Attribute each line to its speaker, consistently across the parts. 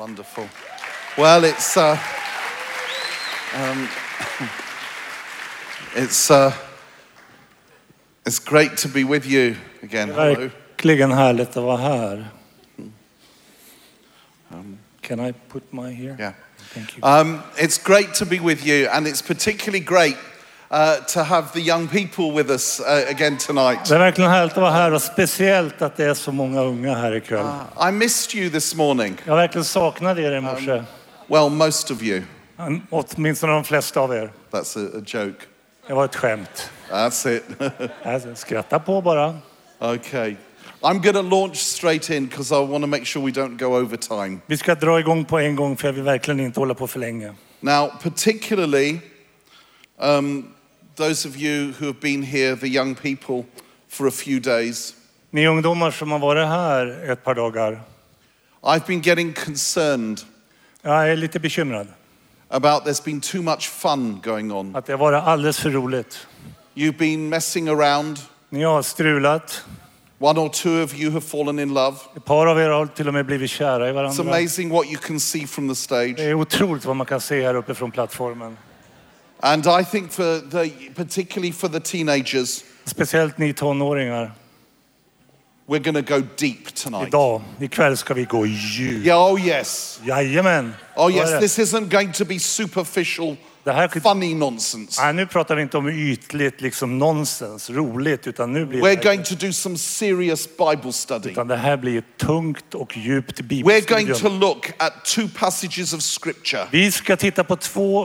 Speaker 1: Wonderful. Well, it's uh, um, it's uh, it's great to be with you again. Hello.
Speaker 2: Verkligen härligt att vara här. Um, Can I put my here?
Speaker 1: Yeah.
Speaker 2: Thank you.
Speaker 1: Um, it's great to be with you, and it's particularly great uh, to have the young people with us uh, again tonight.
Speaker 2: Det är verkligen härligt att vara här och speciellt att det är så många unga här ikväll.
Speaker 1: Uh, I missed you this morning.
Speaker 2: Jag verkligen saknade er i morse.
Speaker 1: Well, most of you.
Speaker 2: An- Åtminstone de flesta av er.
Speaker 1: That's a, a joke.
Speaker 2: Det var ett skämt.
Speaker 1: That's it.
Speaker 2: Alltså, Skratta på bara.
Speaker 1: okay. I'm going to launch straight in because I want to make sure we don't go over time.
Speaker 2: Vi ska dra igång på en gång för jag vill verkligen inte hålla på för länge.
Speaker 1: Now, particularly um, those of you who have been here, the young people, for a few days,
Speaker 2: Ni ungdomar som har varit här ett par dagar.
Speaker 1: I've been getting concerned
Speaker 2: Jag är lite bekymrad.
Speaker 1: about there's been too much fun going on.
Speaker 2: Att det har varit alldeles för roligt.
Speaker 1: You've been messing around.
Speaker 2: Ni har strulat.
Speaker 1: One or two of you have fallen in love.
Speaker 2: Ett par av er har till och med blivit kära i
Speaker 1: It's
Speaker 2: varandra.
Speaker 1: amazing what you can see from the stage.
Speaker 2: Det är otroligt vad man kan se här uppe från plattformen.
Speaker 1: And I think for the, particularly for the teenagers,
Speaker 2: Speciellt ni tonåringar.
Speaker 1: we're going to go deep tonight.
Speaker 2: Idag, ikväll ska vi gå djupt.
Speaker 1: Yeah, oh yes.
Speaker 2: Jajamän!
Speaker 1: Oh
Speaker 2: Så är
Speaker 1: yes,
Speaker 2: det.
Speaker 1: this isn't going to be superficial,
Speaker 2: Det här-
Speaker 1: funny nonsense.
Speaker 2: Nej, nu pratar vi inte om ytligt liksom nonsens, roligt, utan nu blir
Speaker 1: We're
Speaker 2: det,
Speaker 1: going to do some serious Bible study.
Speaker 2: utan det här blir ett tungt och djupt
Speaker 1: We're going to
Speaker 2: bibelstudium.
Speaker 1: look at two passages of Scripture
Speaker 2: Vi ska titta på två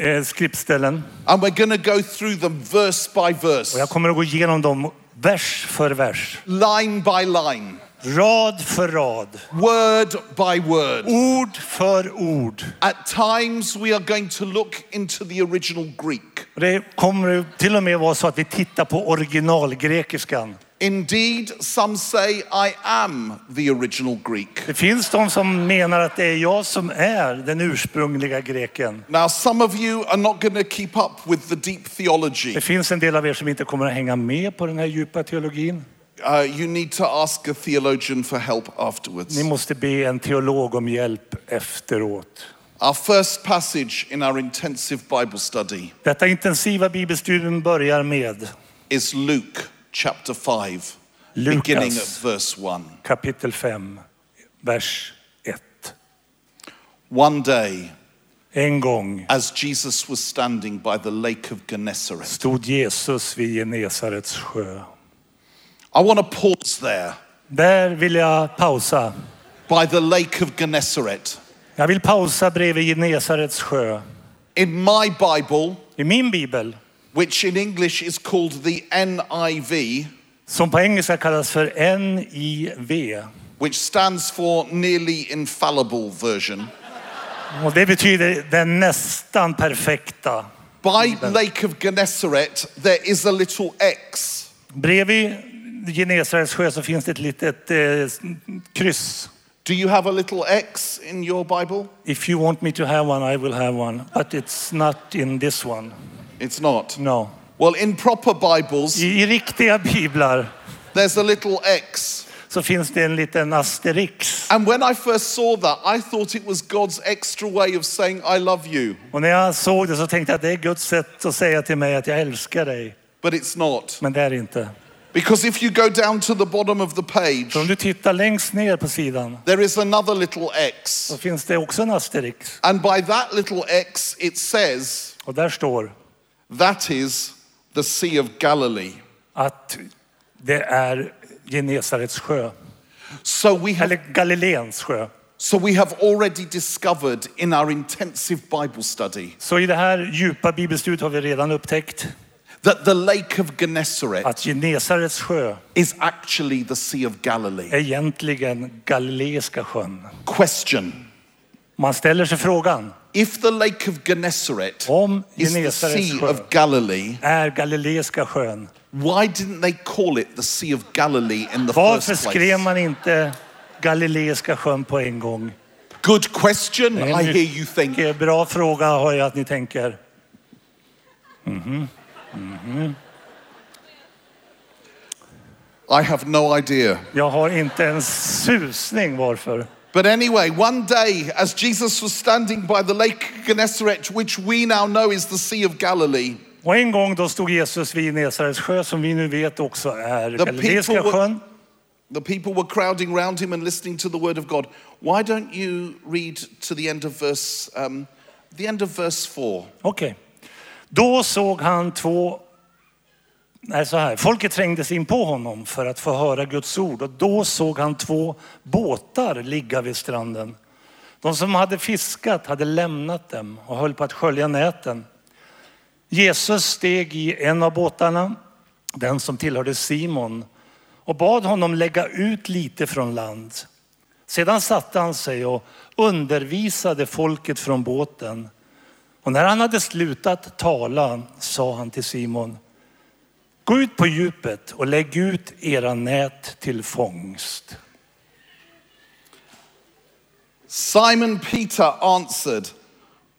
Speaker 2: eh, skriftställen
Speaker 1: and we're going to go through them verse by verse,
Speaker 2: och jag kommer att gå igenom dem vers för vers,
Speaker 1: line by line,
Speaker 2: rad för rad,
Speaker 1: word by word.
Speaker 2: ord för ord.
Speaker 1: At times, we are going to look into the original Greek.
Speaker 2: Och Det kommer till och med vara så att vi tittar på originalgrekiskan.
Speaker 1: Indeed, some say, I am the original Greek.
Speaker 2: Det finns de som menar att det är jag som är den ursprungliga greken.
Speaker 1: Now, some of you are not going to keep up with the deep
Speaker 2: Det
Speaker 1: theology.
Speaker 2: finns en del av er som inte kommer att hänga med på den här djupa teologin.
Speaker 1: Uh, you need to ask a theologian for help afterwards.
Speaker 2: Ni måste be en teolog om hjälp efteråt.
Speaker 1: Our first passage in our intensive Bible study
Speaker 2: Detta intensiva bibelstudium börjar med
Speaker 1: is Luke chapter 5,
Speaker 2: Lukas.
Speaker 1: beginning at verse 1.
Speaker 2: kapitel 5, vers 1.
Speaker 1: One day,
Speaker 2: En gång
Speaker 1: as Jesus was standing by the lake of Gennesaret,
Speaker 2: stod Jesus vid Genesarets sjö.
Speaker 1: I want to pause there.
Speaker 2: Där vill jag pausa.
Speaker 1: By the lake of Gennesaret.
Speaker 2: Jag vill pausa bredvid Genesarets sjö.
Speaker 1: In my Bible,
Speaker 2: I min bibel,
Speaker 1: which in English is called the NIV,
Speaker 2: som på engelska kallas för NIV,
Speaker 1: which stands for Nearly Infallible Version,
Speaker 2: och det betyder den nästan perfekta.
Speaker 1: by lake of Gennesaret, there is a little X.
Speaker 2: Bredvid Genesarets sjö så finns det ett litet eh, s- kryss.
Speaker 1: Do you have a little X in your Bible?
Speaker 2: If you want me to have one I will have one, but it's not in this one.
Speaker 1: It's not.
Speaker 2: No.
Speaker 1: Well, in proper Bibles,
Speaker 2: I, I riktiga biblar
Speaker 1: there's a little X.
Speaker 2: så finns det en liten asterix.
Speaker 1: And when I first saw that, I thought it was God's extra way of saying, I love you.
Speaker 2: Och när jag såg det så tänkte jag att det är Guds sätt att säga till mig att jag älskar dig.
Speaker 1: But it's not.
Speaker 2: Men det är det inte.
Speaker 1: Because if you go down to the bottom of the page,
Speaker 2: Så om du tittar längst ner på sidan
Speaker 1: there is another little X.
Speaker 2: så finns det också en asterix.
Speaker 1: And by that little X, it says,
Speaker 2: Och där står
Speaker 1: that is the Sea of Galilee.
Speaker 2: att det är Genesarets sjö.
Speaker 1: So we have,
Speaker 2: Eller Galileens sjö.
Speaker 1: so we have already discovered in our intensive Bible study
Speaker 2: Så i det här djupa bibelstudiet har vi redan upptäckt
Speaker 1: that the Lake of Gennesaret
Speaker 2: att Genesarets sjö
Speaker 1: is actually the Sea of Galilee.
Speaker 2: är egentligen Galileiska sjön.
Speaker 1: Question
Speaker 2: Man ställer sig frågan
Speaker 1: If the Lake of Gennesaret
Speaker 2: om
Speaker 1: is the
Speaker 2: Genesarets
Speaker 1: Sea
Speaker 2: sjö
Speaker 1: of Galilee,
Speaker 2: är Galileiska sjön.
Speaker 1: why didn't they call it the Sea of Galilee in the
Speaker 2: Varför
Speaker 1: first
Speaker 2: skrev
Speaker 1: place?
Speaker 2: man inte Galileiska sjön på en gång?
Speaker 1: Good question,
Speaker 2: är en
Speaker 1: I hear you think.
Speaker 2: mycket Bra fråga har jag att ni tänker.
Speaker 1: I have no idea.
Speaker 2: Jag har inte en susning varför.
Speaker 1: But anyway, one day, as Jesus was standing by the Lake Gennesaret, which we now know is the Sea of Galilee,
Speaker 2: Och en gång då stod Jesus vid Nesarets sjö som vi nu vet också är
Speaker 1: The
Speaker 2: Galileiska
Speaker 1: people were-
Speaker 2: sjön.
Speaker 1: the people were crowding round him and listening to the word of God. Why don't you read to the end of verse, um, the end of verse four?
Speaker 2: Okej. Då såg han två... Nej, så här. Folket trängdes in på honom för att få höra Guds ord och då såg han två båtar ligga vid stranden. De som hade fiskat hade lämnat dem och höll på att skölja näten. Jesus steg i en av båtarna, den som tillhörde Simon, och bad honom lägga ut lite från land. Sedan satte han sig och undervisade folket från båten. Och när han hade slutat tala sa han till Simon, gå ut på djupet och lägg ut era nät till fångst.
Speaker 1: Simon Peter answered,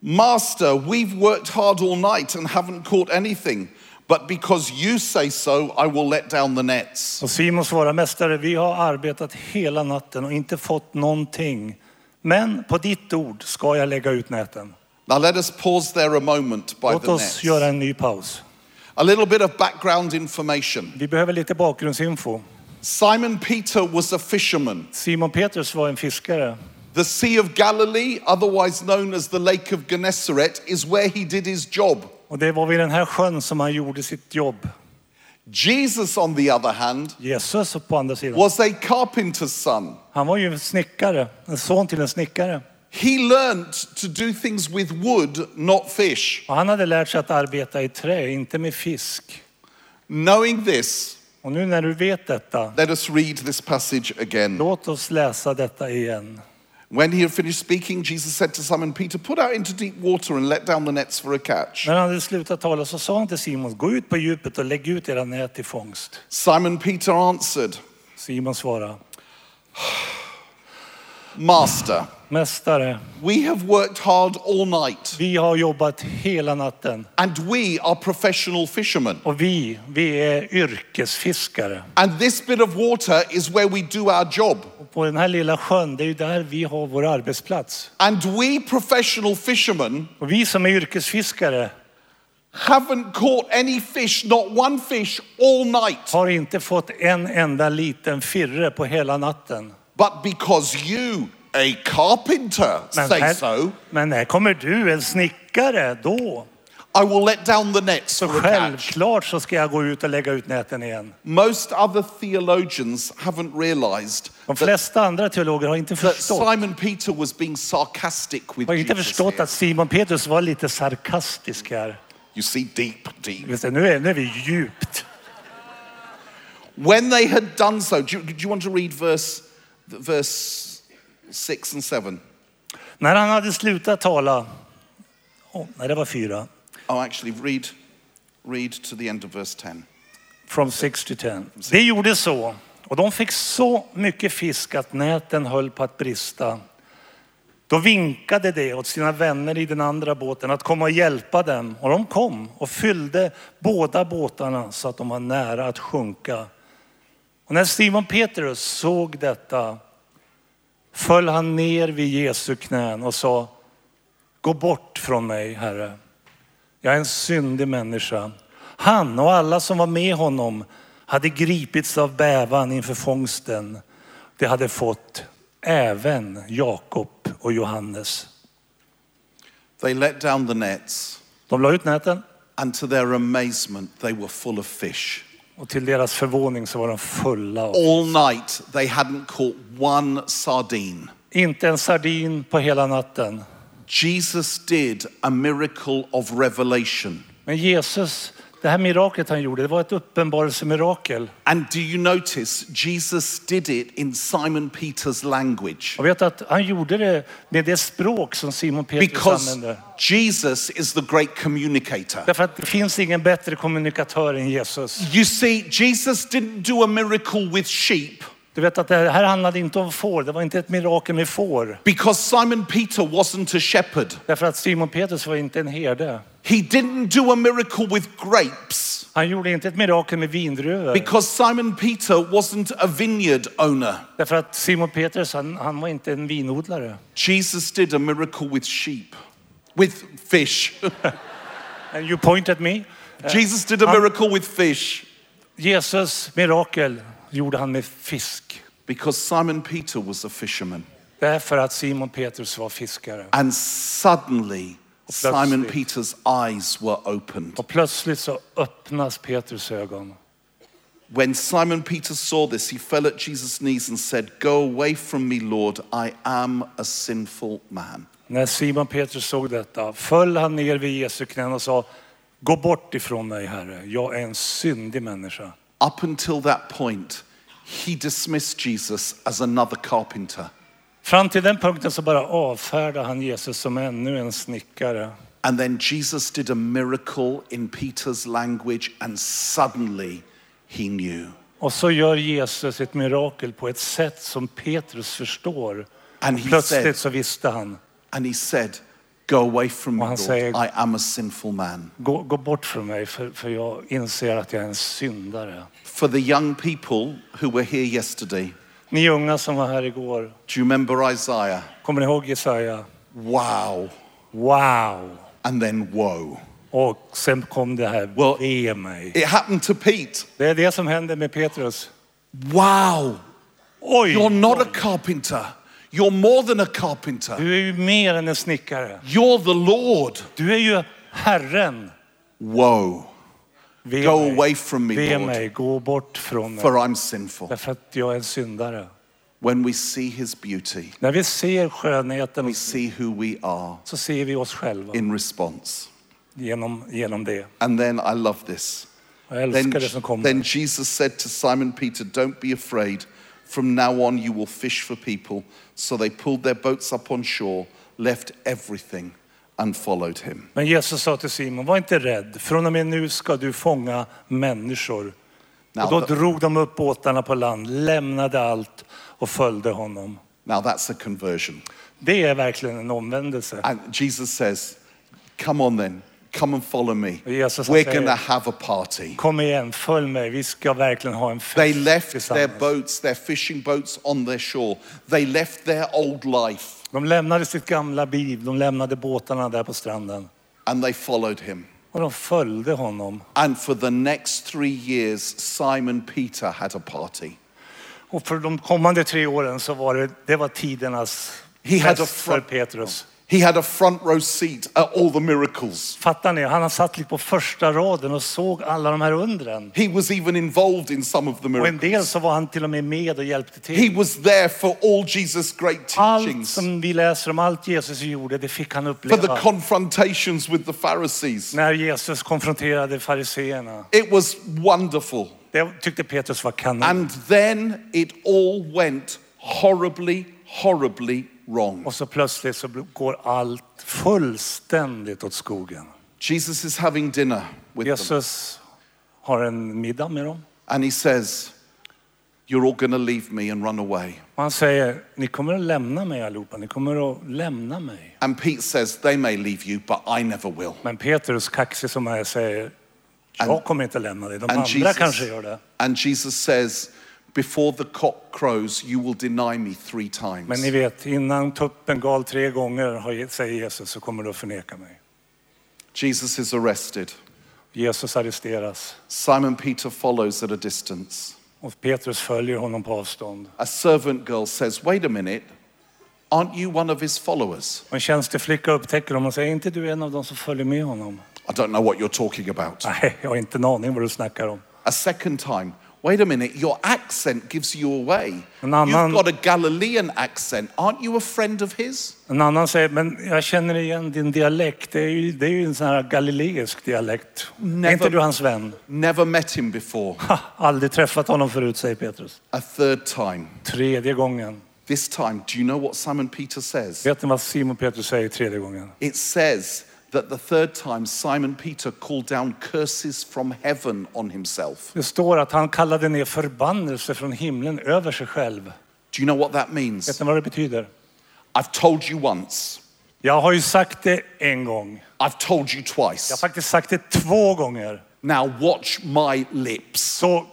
Speaker 1: Master, we've worked hard all night and haven't caught anything, but because you say so, I will let down the nets.
Speaker 2: Och Simon svarade, mästare, vi har arbetat hela natten och inte fått någonting. Men på ditt ord ska jag lägga ut näten.
Speaker 1: Now let us pause there a moment by
Speaker 2: Låt
Speaker 1: the
Speaker 2: oss
Speaker 1: nets.
Speaker 2: göra en ny paus.
Speaker 1: A little bit of background information.
Speaker 2: Vi behöver lite bakgrundsinfo.
Speaker 1: Simon Peter was a fisherman.
Speaker 2: Simon Petrus var en fiskare.
Speaker 1: The Sea of Galilee, otherwise known as the Lake of Gennesaret, is where he did his job.
Speaker 2: Och det var vid den här sjön som han gjorde sitt jobb.
Speaker 1: Jesus, on the other hand,
Speaker 2: Jesus på andra sidan.
Speaker 1: was a carpenter's son.
Speaker 2: Han var ju en snickare, en son till en snickare.
Speaker 1: He learned to do things with wood, not fish.
Speaker 2: Och han hade lärt sig att arbeta i trä, inte med fisk.
Speaker 1: Knowing this,
Speaker 2: Och nu när du vet detta,
Speaker 1: let us read this passage again.
Speaker 2: låt oss läsa detta igen.
Speaker 1: When he had finished speaking, Jesus said to Simon Peter, Put out into deep water and let down the nets for a catch.
Speaker 2: När han hade slutat tala så sa han till Simon, gå ut på djupet och lägg ut era nät till fångst.
Speaker 1: Simon Peter answered,
Speaker 2: Simon svarade,
Speaker 1: Master,
Speaker 2: Mästare,
Speaker 1: we have worked hard all night,
Speaker 2: vi har jobbat hela natten
Speaker 1: and we are professional fishermen.
Speaker 2: och vi, vi är yrkesfiskare.
Speaker 1: And this bit of water is where we do our job.
Speaker 2: Och på den här lilla sjön, det är ju där vi har vår arbetsplats.
Speaker 1: And we professional fishermen
Speaker 2: Och vi som är yrkesfiskare
Speaker 1: haven't caught any fish, not one fish, all night.
Speaker 2: har inte fått en enda liten firre på hela natten.
Speaker 1: But because you, a carpenter,
Speaker 2: Men
Speaker 1: say
Speaker 2: här,
Speaker 1: so,
Speaker 2: men här kommer du, en snickare, då.
Speaker 1: I will let down the nets
Speaker 2: Så
Speaker 1: for a catch.
Speaker 2: självklart så ska jag gå ut och lägga ut näten igen.
Speaker 1: Most other theologians haven't realized
Speaker 2: De
Speaker 1: that,
Speaker 2: flesta andra teologer har inte
Speaker 1: that
Speaker 2: förstått,
Speaker 1: Simon Peter was being sarcastic with
Speaker 2: har inte
Speaker 1: Jesus.
Speaker 2: förstått
Speaker 1: Here.
Speaker 2: att Simon Petrus var lite sarkastisk här.
Speaker 1: You see, deep, deep.
Speaker 2: Just det, nu, är, nu är vi djupt.
Speaker 1: When they had done so, do you, do you want to read verse, verse six and seven?
Speaker 2: När han hade slutat tala, oh, nej det var fyra,
Speaker 1: Oh, actually, read, read to the end of verse ten.
Speaker 2: from six to ten. Det gjorde så, och de fick så mycket fisk att näten höll på att brista. Då vinkade de åt sina vänner i den andra båten att komma och hjälpa dem. Och de kom och fyllde båda båtarna så att de var nära att sjunka. Och när Simon Petrus såg detta föll han ner vid Jesu knän och sa Gå bort från mig, Herre. Jag är en syndig människa. Han och alla som var med honom hade gripits av bävan inför fångsten. Det hade fått även Jakob och Johannes.
Speaker 1: They let down the nets,
Speaker 2: De la ut näten
Speaker 1: and to their amazement, they were full of fish.
Speaker 2: och till deras förvåning så var de fulla. av-
Speaker 1: All night, they hadn't caught one sardine.
Speaker 2: Inte en sardin på hela natten.
Speaker 1: Jesus did a miracle of revelation.
Speaker 2: Men Jesus, det här miraklet han gjorde, det var ett uppenbarelsemirakel.
Speaker 1: And do you notice Jesus did it in Simon Peter's language?
Speaker 2: Och vet att han gjorde det med det språk som Simon Petrus
Speaker 1: Because
Speaker 2: använde.
Speaker 1: Jesus is the great communicator.
Speaker 2: Därför att det finns ingen bättre kommunikatör än Jesus.
Speaker 1: You see, Jesus didn't do a miracle with sheep,
Speaker 2: Du vet att det här handlade inte om får. Det var inte ett mirakel med får.
Speaker 1: Because Simon Peter wasn't a shepherd.
Speaker 2: Därför att Simon Petrus var inte en herde.
Speaker 1: He didn't do a miracle with grapes
Speaker 2: Han gjorde inte ett mirakel med vindruvor.
Speaker 1: because Simon Peter wasn't a vineyard owner.
Speaker 2: Därför att Simon Petrus, han, han var inte en vinodlare.
Speaker 1: Jesus did a miracle with sheep, with fish.
Speaker 2: And you point at me.
Speaker 1: Jesus did a miracle with fish
Speaker 2: Jesus mirakel gjorde han med fisk.
Speaker 1: because Simon Peter was a fisherman.
Speaker 2: Därför att Simon Petrus var fiskare.
Speaker 1: And suddenly, Simon Peter's eyes were opened.
Speaker 2: Och plötsligt så öppnas Petrus ögon.
Speaker 1: When Simon Peter saw this, he fell at Jesus' knees and said, Go away from me, Lord, I am a sinful man.
Speaker 2: När Simon Petrus såg detta föll han ner vid Jesu knän och sa Gå bort ifrån mig, Herre. Jag är en syndig människa.
Speaker 1: Up until that point, he dismissed Jesus as another carpenter.
Speaker 2: Fram till den punkten så bara avfärdade han Jesus som ännu en snickare.
Speaker 1: And then Jesus did a miracle in Peter's language, and suddenly he knew.
Speaker 2: Och så gör Jesus ett mirakel på ett sätt som Petrus förstår.
Speaker 1: And
Speaker 2: Och
Speaker 1: he
Speaker 2: Plötsligt
Speaker 1: said-
Speaker 2: så visste han.
Speaker 1: And he said, Go away from me,
Speaker 2: Well,
Speaker 1: Lord,
Speaker 2: say-
Speaker 1: I am a sinful man.
Speaker 2: Gå, gå bort från mig för, för jag inser att jag är en syndare.
Speaker 1: For the young people who were here yesterday,
Speaker 2: Ni unga som var här igår,
Speaker 1: do you remember Isaiah?
Speaker 2: kommer ni ihåg Jesaja?
Speaker 1: Wow.
Speaker 2: Wow!
Speaker 1: And then woe.
Speaker 2: Och sen kom det här,
Speaker 1: Well-
Speaker 2: ve mig.
Speaker 1: It happened to Pete.
Speaker 2: Det är det som händer med Petrus.
Speaker 1: Wow.
Speaker 2: Oj!
Speaker 1: You're not a carpenter. You're more than a carpenter.
Speaker 2: Du är ju mer än en snickare.
Speaker 1: You're the Lord.
Speaker 2: Du är ju Herren.
Speaker 1: Woe.
Speaker 2: Ve
Speaker 1: Go
Speaker 2: mig.
Speaker 1: away from me,
Speaker 2: Ve
Speaker 1: Lord.
Speaker 2: mig, gå bort från mig.
Speaker 1: For I'm sinful.
Speaker 2: Därför att jag är en syndare.
Speaker 1: When we see his beauty,
Speaker 2: När vi ser skönheten
Speaker 1: we see who we are
Speaker 2: så ser vi oss själva
Speaker 1: in response.
Speaker 2: genom, genom det.
Speaker 1: And then I love this.
Speaker 2: Jag älskar
Speaker 1: Then,
Speaker 2: det som kommer.
Speaker 1: then Jesus said to Simon Peter, Don't be afraid. From now on, you will fish for people. So they pulled their boats up on shore, left everything, and followed him.
Speaker 2: Men Jesus sa till Simon, var inte rädd. Från och med nu ska du fånga människor.
Speaker 1: Now,
Speaker 2: Och då
Speaker 1: th-
Speaker 2: drog de upp båtarna på land, lämnade allt och följde honom.
Speaker 1: now that's a conversion.
Speaker 2: Det är verkligen en omvändelse.
Speaker 1: And Jesus says, Come on then, come and follow me.
Speaker 2: Jesus
Speaker 1: We're
Speaker 2: säger-
Speaker 1: going to have a party.
Speaker 2: Kom igen, följ mig. Vi ska verkligen ha en fest
Speaker 1: They left their
Speaker 2: tillsammans.
Speaker 1: boats, their fishing boats on their shore. They left their old life
Speaker 2: De lämnade sitt gamla liv, de lämnade båtarna där på stranden.
Speaker 1: and they followed him.
Speaker 2: Och de följde honom.
Speaker 1: And for the next three years, Simon Peter had a party.
Speaker 2: Och för de kommande tre åren så var det, det var tidernas
Speaker 1: He had a
Speaker 2: fest för
Speaker 1: front-
Speaker 2: Petrus.
Speaker 1: He had a front row seat at all the miracles.
Speaker 2: Fattar ni? Han satt lite på första raden och såg alla de här undren.
Speaker 1: He was even involved in some of the
Speaker 2: Och en del
Speaker 1: miracles.
Speaker 2: så var han till och med med och hjälpte
Speaker 1: He
Speaker 2: till.
Speaker 1: was there for all Jesus' great
Speaker 2: Allt
Speaker 1: teachings,
Speaker 2: som vi läser om, allt Jesus gjorde, det fick han
Speaker 1: for the
Speaker 2: uppleva.
Speaker 1: confrontations with the Pharisees.
Speaker 2: När Jesus konfronterade fariseerna.
Speaker 1: It was wonderful.
Speaker 2: Det tyckte Petrus var kanon.
Speaker 1: And then it all went horribly, horribly wrong.
Speaker 2: Och så plötsligt så går allt fullständigt åt skogen.
Speaker 1: Jesus is having dinner with them,
Speaker 2: Jesus har en middag med dem.
Speaker 1: and he says, You're all going to leave me and run away.
Speaker 2: Och han säger, ni kommer att lämna mig allihopa, ni kommer att lämna mig.
Speaker 1: And Pete says, They may leave you, but I never will.
Speaker 2: Men Petrus, kaxig som han är, säger,
Speaker 1: And-
Speaker 2: jag kommer inte lämna dig, de
Speaker 1: And
Speaker 2: andra
Speaker 1: Jesus-
Speaker 2: kanske gör det.
Speaker 1: And Jesus says, Before the cock crows, you will deny me three times.
Speaker 2: Men ni vet, innan tuppen gal tre gånger, har- säger Jesus, så kommer du att förneka mig.
Speaker 1: Jesus is arrested.
Speaker 2: Jesus arresteras
Speaker 1: Simon Peter follows at a distance.
Speaker 2: och Petrus följer honom på avstånd.
Speaker 1: A servant girl says, Wait a minute, aren't you one of his followers?
Speaker 2: Och En tjänsteflicka upptäcker honom och säger, är inte du en av dem som följer med honom?
Speaker 1: I don't know what you're talking about.
Speaker 2: Nej, jag har inte en aning vad du snackar om.
Speaker 1: A second time, Wait a minute, your accent gives you away.
Speaker 2: And I'm-
Speaker 1: You've got a Galilean accent. Aren't you a friend of his?
Speaker 2: En annan säger, men jag känner igen din dialekt. Det är ju, det är ju en sån här galileisk dialekt. Är
Speaker 1: Never-
Speaker 2: inte du hans vän?
Speaker 1: Never met him before.
Speaker 2: Ha, aldrig träffat honom förut, säger Petrus.
Speaker 1: A third time.
Speaker 2: Tredje gången.
Speaker 1: This time, do you know what Simon Peter says?
Speaker 2: Vet ni vad Simon Petrus säger tredje gången?
Speaker 1: It says that the third time Simon Peter called down curses from heaven on himself.
Speaker 2: Det står att han kallade ner förbannelse från himlen över sig själv.
Speaker 1: Do you know what that means?
Speaker 2: Vet ni vad det betyder?
Speaker 1: I've told you once,
Speaker 2: Jag har ju sagt det en gång.
Speaker 1: I've told you
Speaker 2: Jag har
Speaker 1: twice.
Speaker 2: faktiskt sagt det två gånger.
Speaker 1: Now watch my lips.
Speaker 2: Så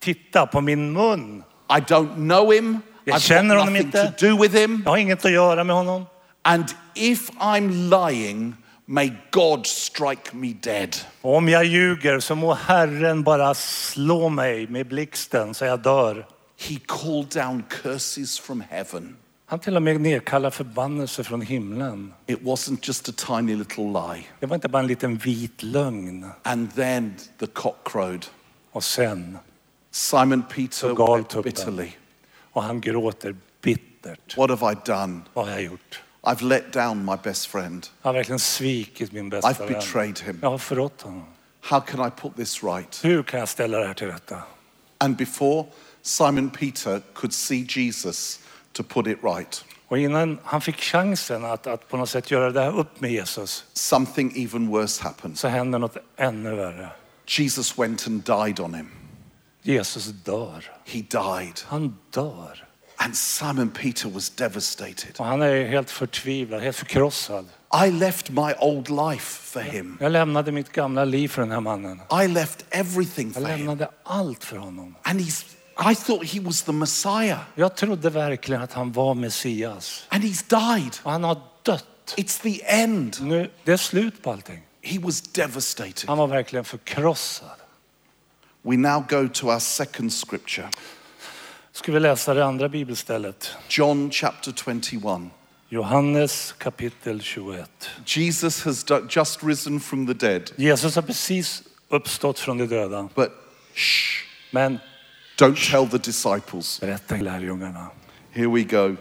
Speaker 2: titta på min mun.
Speaker 1: I don't know him,
Speaker 2: Jag
Speaker 1: I've got
Speaker 2: känner honom
Speaker 1: nothing
Speaker 2: inte.
Speaker 1: to do with him.
Speaker 2: Jag har inget att göra med honom.
Speaker 1: And if I'm lying, may God strike me dead.
Speaker 2: Och om jag ljuger så må Herren bara slå mig med blixten så jag dör.
Speaker 1: He called down curses from heaven.
Speaker 2: Han till och med nedkallar förbannelse från himlen.
Speaker 1: It wasn't just a tiny little lie.
Speaker 2: Det var inte bara en liten vit lögn.
Speaker 1: And then the cock crowed.
Speaker 2: Och sen,
Speaker 1: Simon Peter
Speaker 2: God
Speaker 1: wept
Speaker 2: took them.
Speaker 1: bitterly.
Speaker 2: och han gråter bittert.
Speaker 1: What have I done?
Speaker 2: Vad har jag gjort?
Speaker 1: I've let down my best friend.
Speaker 2: Jag har verkligen svikit min bästa
Speaker 1: I've
Speaker 2: vän.
Speaker 1: betrayed him.
Speaker 2: Jag har förrått honom.
Speaker 1: How can I put this right?
Speaker 2: Hur kan jag ställa det här till rätta?
Speaker 1: And before Simon Peter could see Jesus to put it right,
Speaker 2: Och innan han fick chansen att, att på något sätt göra det här upp med Jesus
Speaker 1: something even worse happened.
Speaker 2: så händer något ännu värre.
Speaker 1: Jesus went and died on him.
Speaker 2: Jesus dör.
Speaker 1: He died.
Speaker 2: Han dör.
Speaker 1: And Simon Peter was devastated.
Speaker 2: Och han är ju helt förtvivlad, helt förkrossad.
Speaker 1: I left my old life for him.
Speaker 2: Jag lämnade mitt gamla liv för den här mannen.
Speaker 1: I left everything
Speaker 2: Jag
Speaker 1: for him.
Speaker 2: lämnade allt för honom.
Speaker 1: And he's, I thought he was the Messiah.
Speaker 2: Jag trodde verkligen att han var Messias.
Speaker 1: And he's died.
Speaker 2: Och han har dött.
Speaker 1: It's the end.
Speaker 2: Nu, det är slut på allting.
Speaker 1: He was devastated.
Speaker 2: Han var verkligen förkrossad.
Speaker 1: We now go to our second scripture,
Speaker 2: Ska vi läsa det andra bibelstället?
Speaker 1: John chapter 21.
Speaker 2: Johannes kapitel 21.
Speaker 1: Jesus has du- just risen from the dead,
Speaker 2: Jesus har precis uppstått från de döda.
Speaker 1: but shh,
Speaker 2: Men
Speaker 1: don't tell the disciples.
Speaker 2: berätta till lärjungarna.
Speaker 1: Here we go.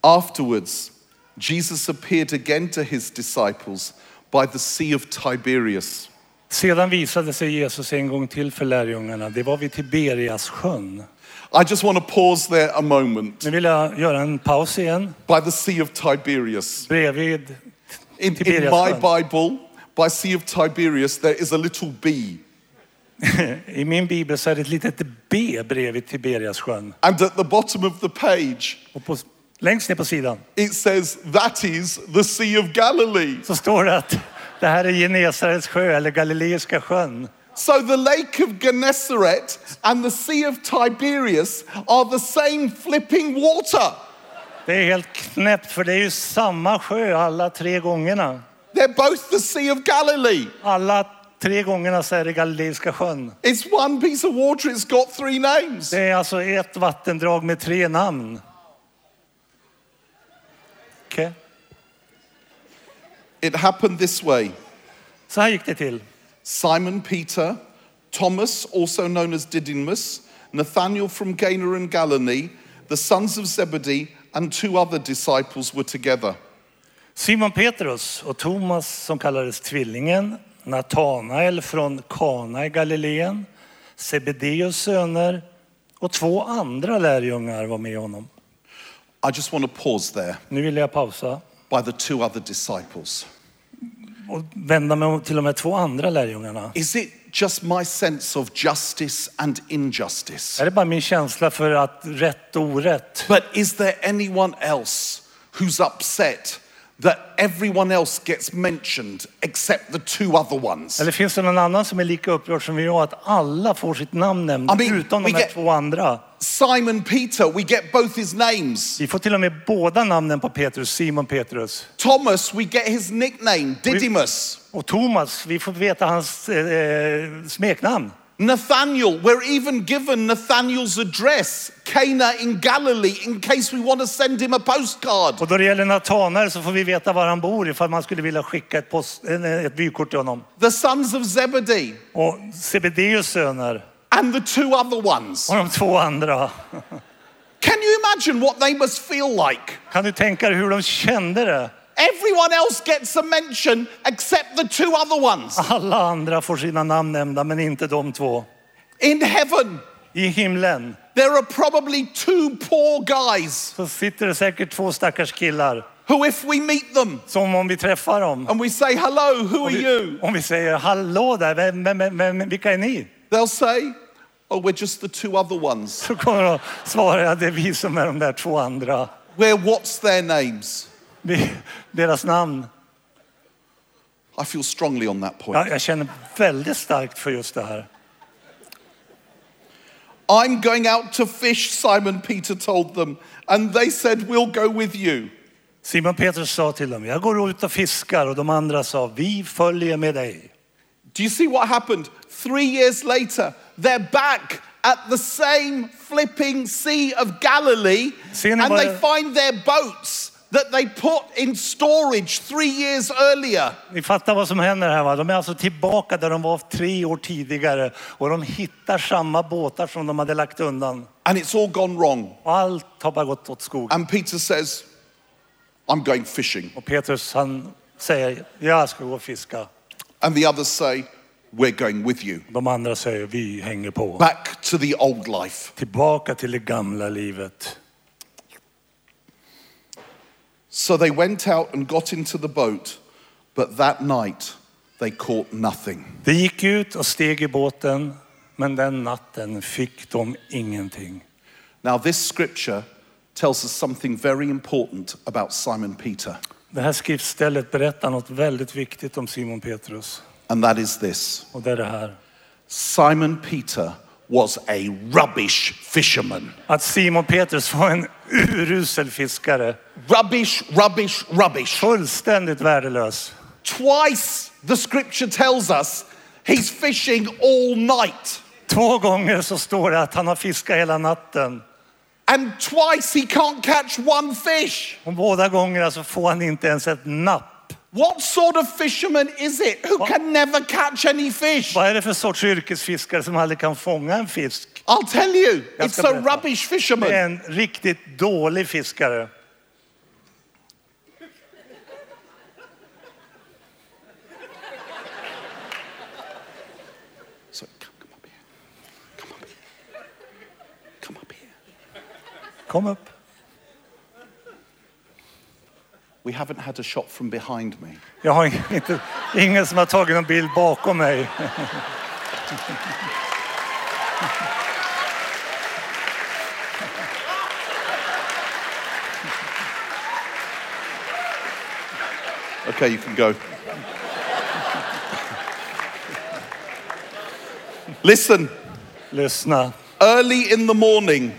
Speaker 1: Afterwards, Jesus appeared again to his disciples by the Sea of Tiberias.
Speaker 2: Sedan visade sig Jesus en gång till för lärjungarna. Det var vid Tiberias sjön.
Speaker 1: I just want to pause there a moment.
Speaker 2: Nu vill jag göra en paus igen.
Speaker 1: By the Sea of Tiberias.
Speaker 2: Bredvid
Speaker 1: In, in
Speaker 2: Tiberias
Speaker 1: my
Speaker 2: sjön.
Speaker 1: Bible, by Sea of Tiberias, there is a little B.
Speaker 2: I min bibel så är det ett litet B bredvid Tiberias sjön.
Speaker 1: And at the bottom of the page,
Speaker 2: Och på, längst ner på sidan
Speaker 1: it says, That is the Sea of Galilee.
Speaker 2: så står det att det här är Genesarets sjö eller Galileiska sjön.
Speaker 1: So the Lake of Gennesaret and the Sea of Tiberias are the same flipping water.
Speaker 2: Det är helt knäppt för det är ju samma sjö alla tre gångerna.
Speaker 1: They're both the Sea of Galilee.
Speaker 2: Alla tre gångerna så är det Galileiska sjön.
Speaker 1: It's one piece of water, it's got three names.
Speaker 2: Det är alltså ett vattendrag med tre namn. Okej.
Speaker 1: It happened this way
Speaker 2: Så här gick det till.
Speaker 1: Simon Peter, Thomas, also known as Didymus, Nathanael from Cana and Galilee, the sons of Zebedee, and two other disciples were together.
Speaker 2: Simon Petrus och Thomas som kallades Tvillingen, Natanael från Kana i Galileen, Sebedeus söner och två andra lärjungar var med honom.
Speaker 1: I just want to pause there
Speaker 2: Nu vill jag pausa
Speaker 1: by the two other disciples.
Speaker 2: och vända mig till de här två andra lärjungarna.
Speaker 1: Is it just my sense of justice and injustice?
Speaker 2: Är det bara min känsla för att rätt och orätt?
Speaker 1: But is there anyone else who's upset that everyone else gets mentioned except the two other ones?
Speaker 2: Eller finns det någon annan som är lika upprörd som jag att alla får sitt namn nämnt
Speaker 1: Ja, men
Speaker 2: utom de
Speaker 1: vilka-
Speaker 2: här två andra?
Speaker 1: Simon Peter, we get both his names.
Speaker 2: Vi får till och med båda namnen på Petrus, Simon Petrus.
Speaker 1: Thomas, we get his nickname, Didymus.
Speaker 2: Och Thomas, vi får veta hans eh, smeknamn.
Speaker 1: Nathaniel, we're even given Nathaniel's address, Cana in Galilee, in case we want to send him a postcard.
Speaker 2: Och då det gäller Natanael så får vi veta var han bor ifall man skulle vilja skicka ett, post, en- eh, ett vykort till honom.
Speaker 1: The sons of Zebedee
Speaker 2: Och Sebedeus söner
Speaker 1: and the two other ones.
Speaker 2: och de två andra.
Speaker 1: Can you imagine what they must feel like?
Speaker 2: Kan du tänka dig hur de kände det?
Speaker 1: Everyone else gets a mention except the two other ones.
Speaker 2: Alla andra får sina namn nämnda men inte de två.
Speaker 1: In heaven,
Speaker 2: I himlen
Speaker 1: there are probably two poor guys
Speaker 2: så sitter det säkert två stackars killar
Speaker 1: who, if we meet them
Speaker 2: Som om vi träffar dem.
Speaker 1: and we say, Hello, who are
Speaker 2: Om vi-
Speaker 1: you?
Speaker 2: Om vi säger hallå där, vem, vem, vem, vem, vilka är ni?
Speaker 1: They'll say, Oh, we're just the two other ones.
Speaker 2: Så kommer de svara, ja, det är vi som är de där två andra.
Speaker 1: We're what's their names?
Speaker 2: Vi, deras namn.
Speaker 1: I feel strongly on that point.
Speaker 2: Ja, jag känner väldigt starkt för just det här.
Speaker 1: I'm going out to fish, Simon Peter told them. And they said, We'll go with you.
Speaker 2: Simon Petrus sa till dem, jag går ut och fiskar och de andra sa, vi följer med dig.
Speaker 1: Do you see what happened? Three years later, they're back at the same flipping Sea of Galilee
Speaker 2: See
Speaker 1: and
Speaker 2: anybody-
Speaker 1: they find their boats that they put in storage three years earlier.
Speaker 2: Ni fattar vad som händer här va? De är alltså tillbaka där de var tre år tidigare och de hittar samma båtar som de hade lagt undan.
Speaker 1: And it's all gone wrong.
Speaker 2: Och allt har bara gått åt skogen.
Speaker 1: And Peter says, I'm going fishing.
Speaker 2: Och Petrus han säger, jag ska gå och fiska.
Speaker 1: And the others say, We're going with you.
Speaker 2: De andra säger, vi hänger på.
Speaker 1: Back to the old life.
Speaker 2: Tillbaka till det gamla livet.
Speaker 1: So they went out and got into the boat, but that night they caught nothing.
Speaker 2: De gick ut och steg i båten, men den natten fick de ingenting.
Speaker 1: Now, this scripture tells us something very important about Simon Peter,
Speaker 2: Det här skriftstället berättar något väldigt viktigt om Simon Petrus.
Speaker 1: and that is this
Speaker 2: Och det är det här.
Speaker 1: Simon Peter was a rubbish fisherman.
Speaker 2: Att Simon Petrus var en urusel fiskare.
Speaker 1: Rubbish, rubbish, rubbish.
Speaker 2: Fullständigt värdelös.
Speaker 1: Twice the scripture tells us he's fishing all night,
Speaker 2: Två gånger så står det att han har fiskat hela natten.
Speaker 1: and twice he can't catch one fish.
Speaker 2: Och båda gångerna så får han inte ens ett napp.
Speaker 1: What sort of fisherman is it who can never catch any fish?
Speaker 2: Vad är det för sorts yrkesfiskare som aldrig kan fånga en fisk?
Speaker 1: I'll tell you,
Speaker 2: That's
Speaker 1: it's a
Speaker 2: good.
Speaker 1: rubbish
Speaker 2: Det är
Speaker 1: fisherman.
Speaker 2: en riktigt dålig fiskare.
Speaker 1: So come, come up here. Come up here. Come up here.
Speaker 2: Kom upp.
Speaker 1: We haven't had a shot from behind me.
Speaker 2: Jag har ing- inte, ingen som har tagit någon bild bakom mig.
Speaker 1: Okay, you can go. Listen,
Speaker 2: Lyssna.
Speaker 1: early in the morning,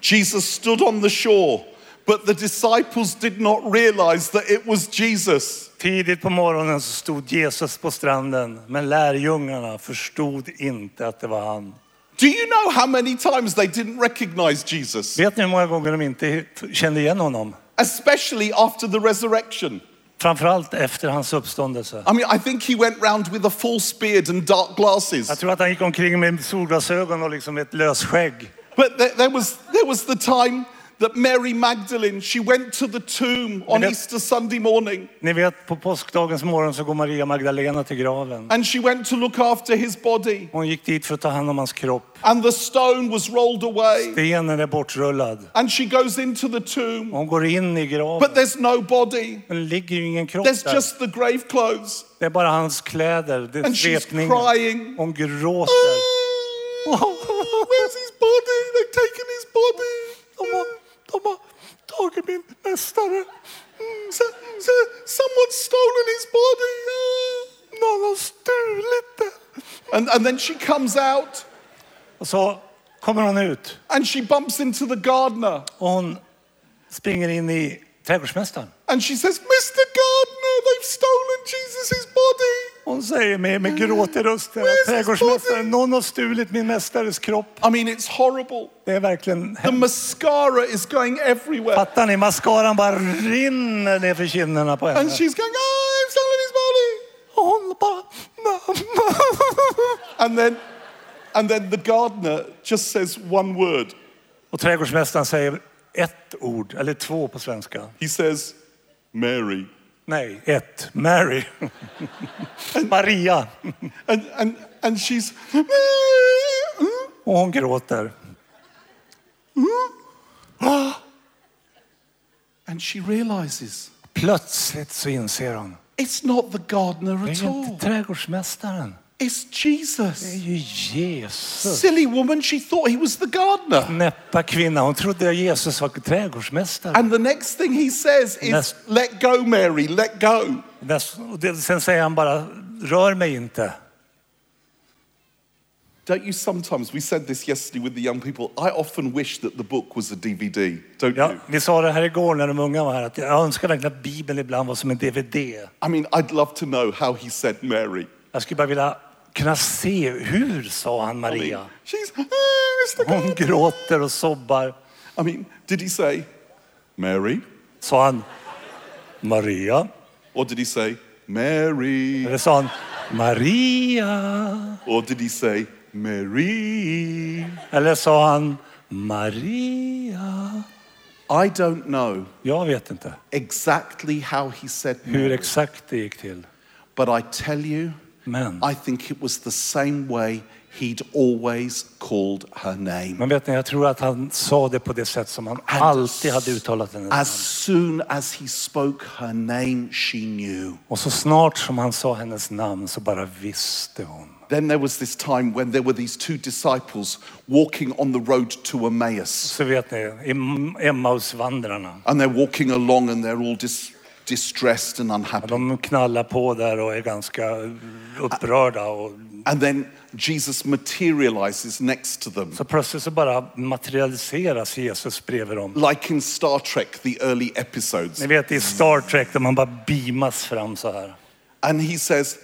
Speaker 1: Jesus stood on the shore, but the disciples did not realize that it was Jesus.
Speaker 2: Tidigt på morgonen så stod Jesus på stranden, men lärjungarna förstod inte att det var han.
Speaker 1: Do you know how many times they didn't recognize Jesus?
Speaker 2: Vet ni hur många gånger de inte kände igen honom?
Speaker 1: Especially after the resurrection.
Speaker 2: Framförallt efter hans uppståndelse.
Speaker 1: I mean, I think he went round with a false beard and dark glasses.
Speaker 2: Jag tror att han gick omkring med solglasögon och liksom ett lösskägg.
Speaker 1: But there, there, was, there was the time that Mary Magdalene, she went to the tomb on
Speaker 2: that-
Speaker 1: Easter Sunday morning
Speaker 2: Ni vet, på påskdagens morgon så går Maria Magdalena till graven.
Speaker 1: and she went to look after his body
Speaker 2: Hon gick dit för att ta hand om hans kropp.
Speaker 1: and the stone was rolled away
Speaker 2: Stenen är bortrullad.
Speaker 1: and she goes into the tomb
Speaker 2: Hon går in i graven.
Speaker 1: but there's no body.
Speaker 2: Men det ligger ju ingen kropp
Speaker 1: There's
Speaker 2: där.
Speaker 1: just the grave clothes.
Speaker 2: Det är bara hans kläder. Det är
Speaker 1: And she's
Speaker 2: svepningen.
Speaker 1: crying.
Speaker 2: Hon
Speaker 1: Ah,
Speaker 2: gråter.
Speaker 1: Where's his body? They've taken his body.
Speaker 2: De har, de har tagit min mästare.
Speaker 1: Mm, so, so, someone's stolen his body. Ah.
Speaker 2: Mm, Någon har stulit det.
Speaker 1: And, and then she comes out
Speaker 2: Och så kommer hon ut
Speaker 1: and she bumps into the gardener.
Speaker 2: och hon springer in i trädgårdsmästaren.
Speaker 1: And she says, Mr. Gardner, they've stolen Jesus' body.
Speaker 2: Hon säger med, med gråt i rösten
Speaker 1: Where's
Speaker 2: att
Speaker 1: his
Speaker 2: trädgårdsmästaren,
Speaker 1: body?
Speaker 2: någon har stulit min mästares kropp.
Speaker 1: I mean, it's horrible.
Speaker 2: Det är verkligen
Speaker 1: The
Speaker 2: hemskt.
Speaker 1: mascara is going everywhere.
Speaker 2: Fattar ni? Mascaran bara rinner ner för kinderna på
Speaker 1: And
Speaker 2: henne.
Speaker 1: she's going, oh, I've stolen his body.
Speaker 2: Och hon bara...
Speaker 1: And then, and then the gardener just says one word.
Speaker 2: Och trädgårdsmästaren säger ett ord, eller två på svenska.
Speaker 1: He says, Mary.
Speaker 2: Nej, ett. Mary. Maria.
Speaker 1: And, and, and she's, "Ah,
Speaker 2: Och hon gråter.
Speaker 1: ah." And she realizes
Speaker 2: Plötsligt så inser hon.
Speaker 1: it's not the gardener
Speaker 2: Det
Speaker 1: at
Speaker 2: är ju
Speaker 1: all.
Speaker 2: inte trädgårdsmästaren.
Speaker 1: It's
Speaker 2: Det är
Speaker 1: Jesus.
Speaker 2: ju Jesus.
Speaker 1: Silly woman, she thought he was the gardener.
Speaker 2: Näppa kvinna. Hon trodde att Jesus var trädgårdsmästare.
Speaker 1: And the next thing he says is,
Speaker 2: That's-
Speaker 1: let go, Mary, let go.
Speaker 2: Näst- och det- Sen säger han bara, rör mig inte.
Speaker 1: Don't you sometimes, we said this yesterday with the young people, I often wish that the book was a DVD, don't
Speaker 2: Ja,
Speaker 1: you?
Speaker 2: vi sa det här igår när de unga var här, att jag önskar verkligen att Bibeln ibland var som en DVD.
Speaker 1: I mean, I'd love to know how he said Mary.
Speaker 2: Jag skulle bara vilja kunna se, hur sa han
Speaker 1: I mean,
Speaker 2: Maria?
Speaker 1: she's, ah, it's the
Speaker 2: Hon
Speaker 1: gardener.
Speaker 2: gråter och sobbar.
Speaker 1: I mean, did he say Mary?
Speaker 2: Sa han Maria?
Speaker 1: Or did he say Mary?
Speaker 2: Eller sa han Maria?
Speaker 1: Or did he say Mary?
Speaker 2: Eller sa han Maria?
Speaker 1: I don't know
Speaker 2: Jag vet inte
Speaker 1: exactly how he said
Speaker 2: hur
Speaker 1: Mary,
Speaker 2: exakt det gick till.
Speaker 1: but I tell you,
Speaker 2: Men,
Speaker 1: I think it was the same way he'd always called her name.
Speaker 2: men vet ni, jag tror att han sa det på det sätt som han alltid hade uttalat hennes namn.
Speaker 1: As soon as he spoke her name, she knew.
Speaker 2: Och så snart som han sa hennes namn så bara visste hon.
Speaker 1: Then there was this time when there were these two disciples walking on the road to Emmaus.
Speaker 2: Så vet ni, Em- Emmausvandrarna.
Speaker 1: And they're walking along and they're all dis- distressed and unhappy.
Speaker 2: De knallar på där och är ganska upprörda. Och
Speaker 1: And then Jesus materializes next to them.
Speaker 2: så plötsligt så bara materialiseras Jesus bredvid dem.
Speaker 1: Like in Star Trek, the early episodes.
Speaker 2: Ni vet i Star Trek där man bara beamas fram så här.
Speaker 1: And he says,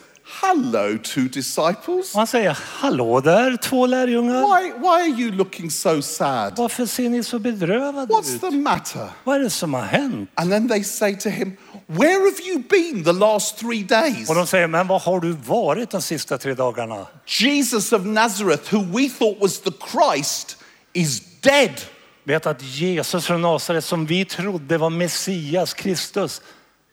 Speaker 1: Hello, two disciples.
Speaker 2: Och han säger, hallå där två lärjungar.
Speaker 1: Why, why are you looking so sad?
Speaker 2: Varför ser ni så bedrövade
Speaker 1: What's
Speaker 2: ut?
Speaker 1: the matter?
Speaker 2: Vad är det som har hänt?
Speaker 1: And then they say to him, Where have you been the last three days?
Speaker 2: Och de säger, men var har du varit de sista tre dagarna?
Speaker 1: Jesus of Nazareth, who we thought was the Christ, is dead.
Speaker 2: Vet att Jesus från Nasaret som vi trodde var Messias, Kristus,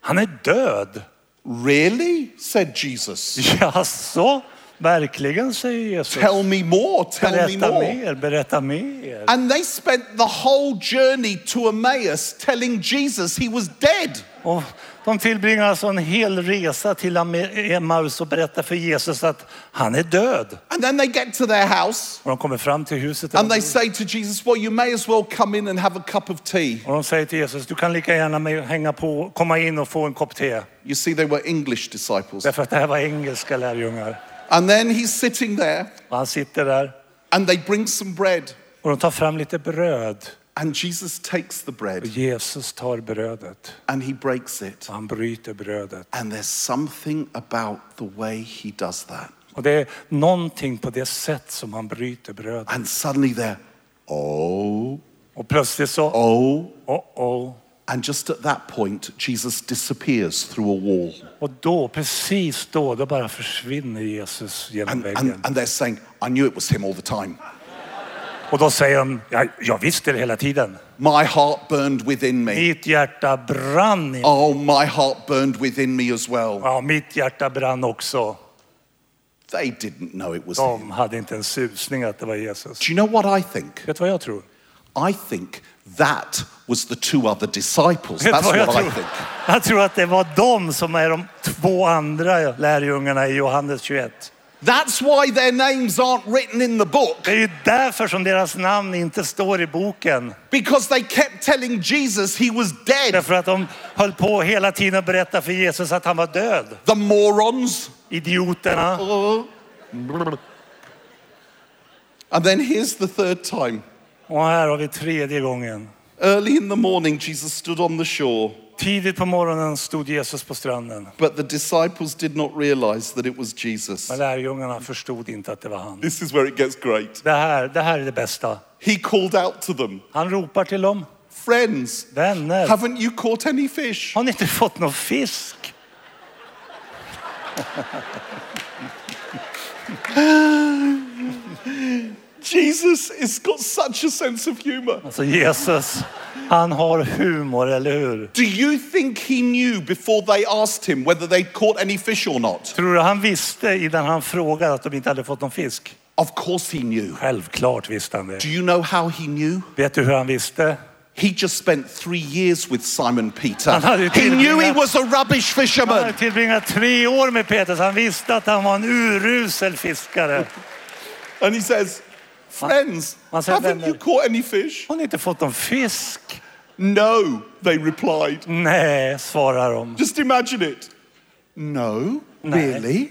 Speaker 2: han är död.
Speaker 1: Really? said Jesus.
Speaker 2: Jaså? Verkligen, säger Jesus.
Speaker 1: Tell me more, tell me
Speaker 2: Berätta
Speaker 1: more.
Speaker 2: mer, berätta mer.
Speaker 1: And they spent the whole journey to Emmaus telling Jesus he was dead.
Speaker 2: Och de tillbringar alltså en hel resa till Ame- Emmaus och berättar för Jesus att han är död.
Speaker 1: And then they get to their house
Speaker 2: Och de kommer fram till huset där
Speaker 1: and
Speaker 2: de
Speaker 1: they
Speaker 2: bor.
Speaker 1: say to Jesus, Well, you may as well come in and have a cup of tea.
Speaker 2: och de säger till Jesus, du kan lika gärna med- hänga på, komma in och få en kopp te.
Speaker 1: You see, they were English disciples.
Speaker 2: Därför att det här var engelska lärjungar.
Speaker 1: And then he's sitting there
Speaker 2: Och han sitter där
Speaker 1: and they bring some bread.
Speaker 2: och de tar fram lite bröd.
Speaker 1: And Jesus takes the bread
Speaker 2: Jesus tar brödet.
Speaker 1: and he breaks it.
Speaker 2: Han bryter brödet.
Speaker 1: And there's something about the way he does that.
Speaker 2: Och det är någonting på det sätt som han bryter brödet.
Speaker 1: And suddenly they're, oh,
Speaker 2: Och plötsligt så,
Speaker 1: oh.
Speaker 2: oh, oh.
Speaker 1: And just at that point, Jesus disappears through a wall.
Speaker 2: Och då, precis då, då bara försvinner Jesus genom
Speaker 1: And, and,
Speaker 2: väggen.
Speaker 1: and they're saying, I knew it was him all the time.
Speaker 2: Och då säger han, ja, jag visste det hela tiden.
Speaker 1: My heart burned within me.
Speaker 2: Mitt hjärta brann. i-
Speaker 1: Oh, my heart burned within me as well.
Speaker 2: Ja, mitt hjärta brann också.
Speaker 1: They didn't know it was him.
Speaker 2: De hade inte en susning att det var Jesus.
Speaker 1: Do you know what I think?
Speaker 2: Vet du vad jag tror?
Speaker 1: I think that was the two other disciples.
Speaker 2: Vet du
Speaker 1: That's
Speaker 2: vad
Speaker 1: what
Speaker 2: jag
Speaker 1: I
Speaker 2: tror?
Speaker 1: think.
Speaker 2: Jag tror att det var de som är de två andra lärjungarna i Johannes 21.
Speaker 1: That's why their names aren't written in the book.
Speaker 2: Det är ju därför som deras namn inte står i boken.
Speaker 1: Because they kept telling Jesus he was dead.
Speaker 2: Därför att de höll på hela tiden att berätta för Jesus att han var död.
Speaker 1: The morons.
Speaker 2: Idioterna.
Speaker 1: Uh, And then here's the third time.
Speaker 2: Och här har vi tredje gången.
Speaker 1: Early in the morning, Jesus stood on the shore,
Speaker 2: Tidigt på morgonen stod Jesus på stranden.
Speaker 1: but the disciples did not realize that it was Jesus.
Speaker 2: Men lärjungarna förstod inte att det var han.
Speaker 1: This is where it gets great.
Speaker 2: Det här, det här är det bästa.
Speaker 1: He called out to them,
Speaker 2: Han ropar till dem.
Speaker 1: Friends,
Speaker 2: Vänner,
Speaker 1: haven't you caught any fish?
Speaker 2: har ni inte fått någon fisk?
Speaker 1: Jesus has got such a sense of humor.
Speaker 2: Alltså Jesus, han har humor, eller hur?
Speaker 1: Do you think he knew before they asked him whether they'd caught any fish or not?
Speaker 2: Tror du han visste innan han frågade att de inte hade fått någon fisk?
Speaker 1: Of course he knew.
Speaker 2: Självklart visste han det.
Speaker 1: Do you know how he knew?
Speaker 2: Vet du hur han visste?
Speaker 1: He just spent three years with Simon Peter.
Speaker 2: Han hade ju
Speaker 1: He knew he
Speaker 2: tillbringat-
Speaker 1: was a rubbish
Speaker 2: Han hade
Speaker 1: fisherman.
Speaker 2: tillbringat tre år med Peter så han visste att han var en urusel fiskare.
Speaker 1: And he says, Friends,
Speaker 2: Man said
Speaker 1: haven't
Speaker 2: vänner.
Speaker 1: you caught any fish?
Speaker 2: Har ni inte fått någon fisk?
Speaker 1: No, they replied.
Speaker 2: Nej, svarar de.
Speaker 1: Just imagine it. No, really?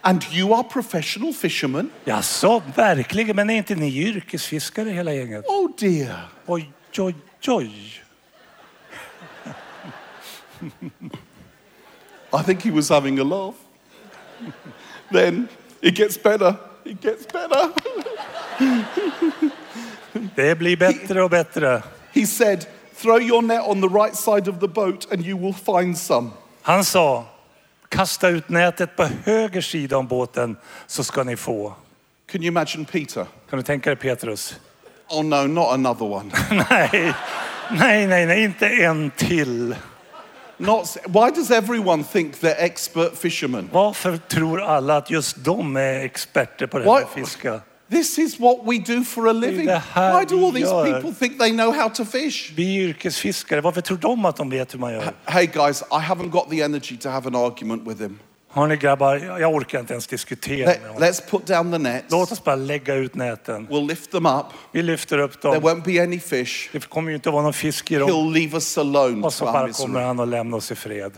Speaker 1: And you are professional fishermen?
Speaker 2: Jaså, verkligen? Men är inte ni yrkesfiskare hela gänget?
Speaker 1: Oh dear.
Speaker 2: Oj, oj, oj.
Speaker 1: I think he was having a laugh. then it gets better. It gets better.
Speaker 2: Det blir bättre och bättre.
Speaker 1: he said, Throw your net on the right side of the boat and you will find some.
Speaker 2: Han sa, kasta ut nätet på höger sida om båten så ska ni få.
Speaker 1: Can you imagine Peter?
Speaker 2: Kan du tänka dig Petrus?
Speaker 1: Oh no, not another one.
Speaker 2: Nej, nej, nej, nej, inte en till.
Speaker 1: not, s- why does everyone think they're expert fishermen?
Speaker 2: Varför tror alla att just de är experter på det här
Speaker 1: Why-
Speaker 2: med att fiska?
Speaker 1: This is what we do for a living.
Speaker 2: det här
Speaker 1: Why do all
Speaker 2: vi
Speaker 1: these
Speaker 2: gör.
Speaker 1: people think they know how to fish?
Speaker 2: Vi är yrkesfiskare, varför tror de att de vet hur man gör?
Speaker 1: Hey guys, I haven't got the energy to have an argument with him.
Speaker 2: Har ni grabbar, jag orkar inte ens diskutera med
Speaker 1: Let,
Speaker 2: honom.
Speaker 1: let's put down the nets.
Speaker 2: Låt oss bara lägga ut näten.
Speaker 1: We'll lift them up.
Speaker 2: Vi lyfter upp
Speaker 1: There
Speaker 2: dem.
Speaker 1: won't be any fish.
Speaker 2: Det kommer ju inte vara någon fisk i dem.
Speaker 1: He'll leave us alone
Speaker 2: Och
Speaker 1: to
Speaker 2: så
Speaker 1: our
Speaker 2: bara kommer
Speaker 1: misery.
Speaker 2: han och lämnar oss i fred.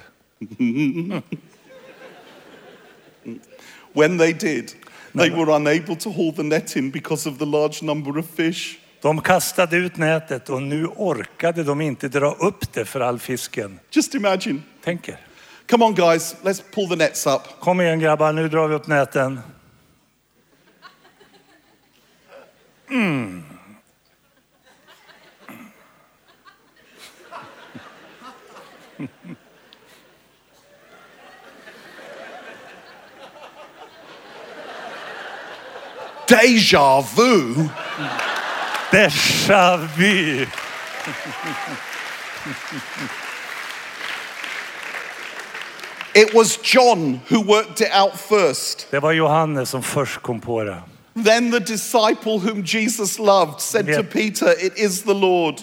Speaker 1: When they did, they were unable to haul the net in because of the large number of fish.
Speaker 2: De kastade ut nätet och nu orkade de inte dra upp det för all fisken.
Speaker 1: Just imagine.
Speaker 2: Tänk er.
Speaker 1: Come on, guys, let's pull the nets up.
Speaker 2: Kom igen grabbar, nu drar vi upp näten. Mm.
Speaker 1: Mm. Deja vu.
Speaker 2: Déjà vu!
Speaker 1: It was John who worked it out first.
Speaker 2: Det var Johannes som först kom på det.
Speaker 1: Then the disciple whom Jesus loved said
Speaker 2: Yeah.
Speaker 1: to Peter, It is the Lord.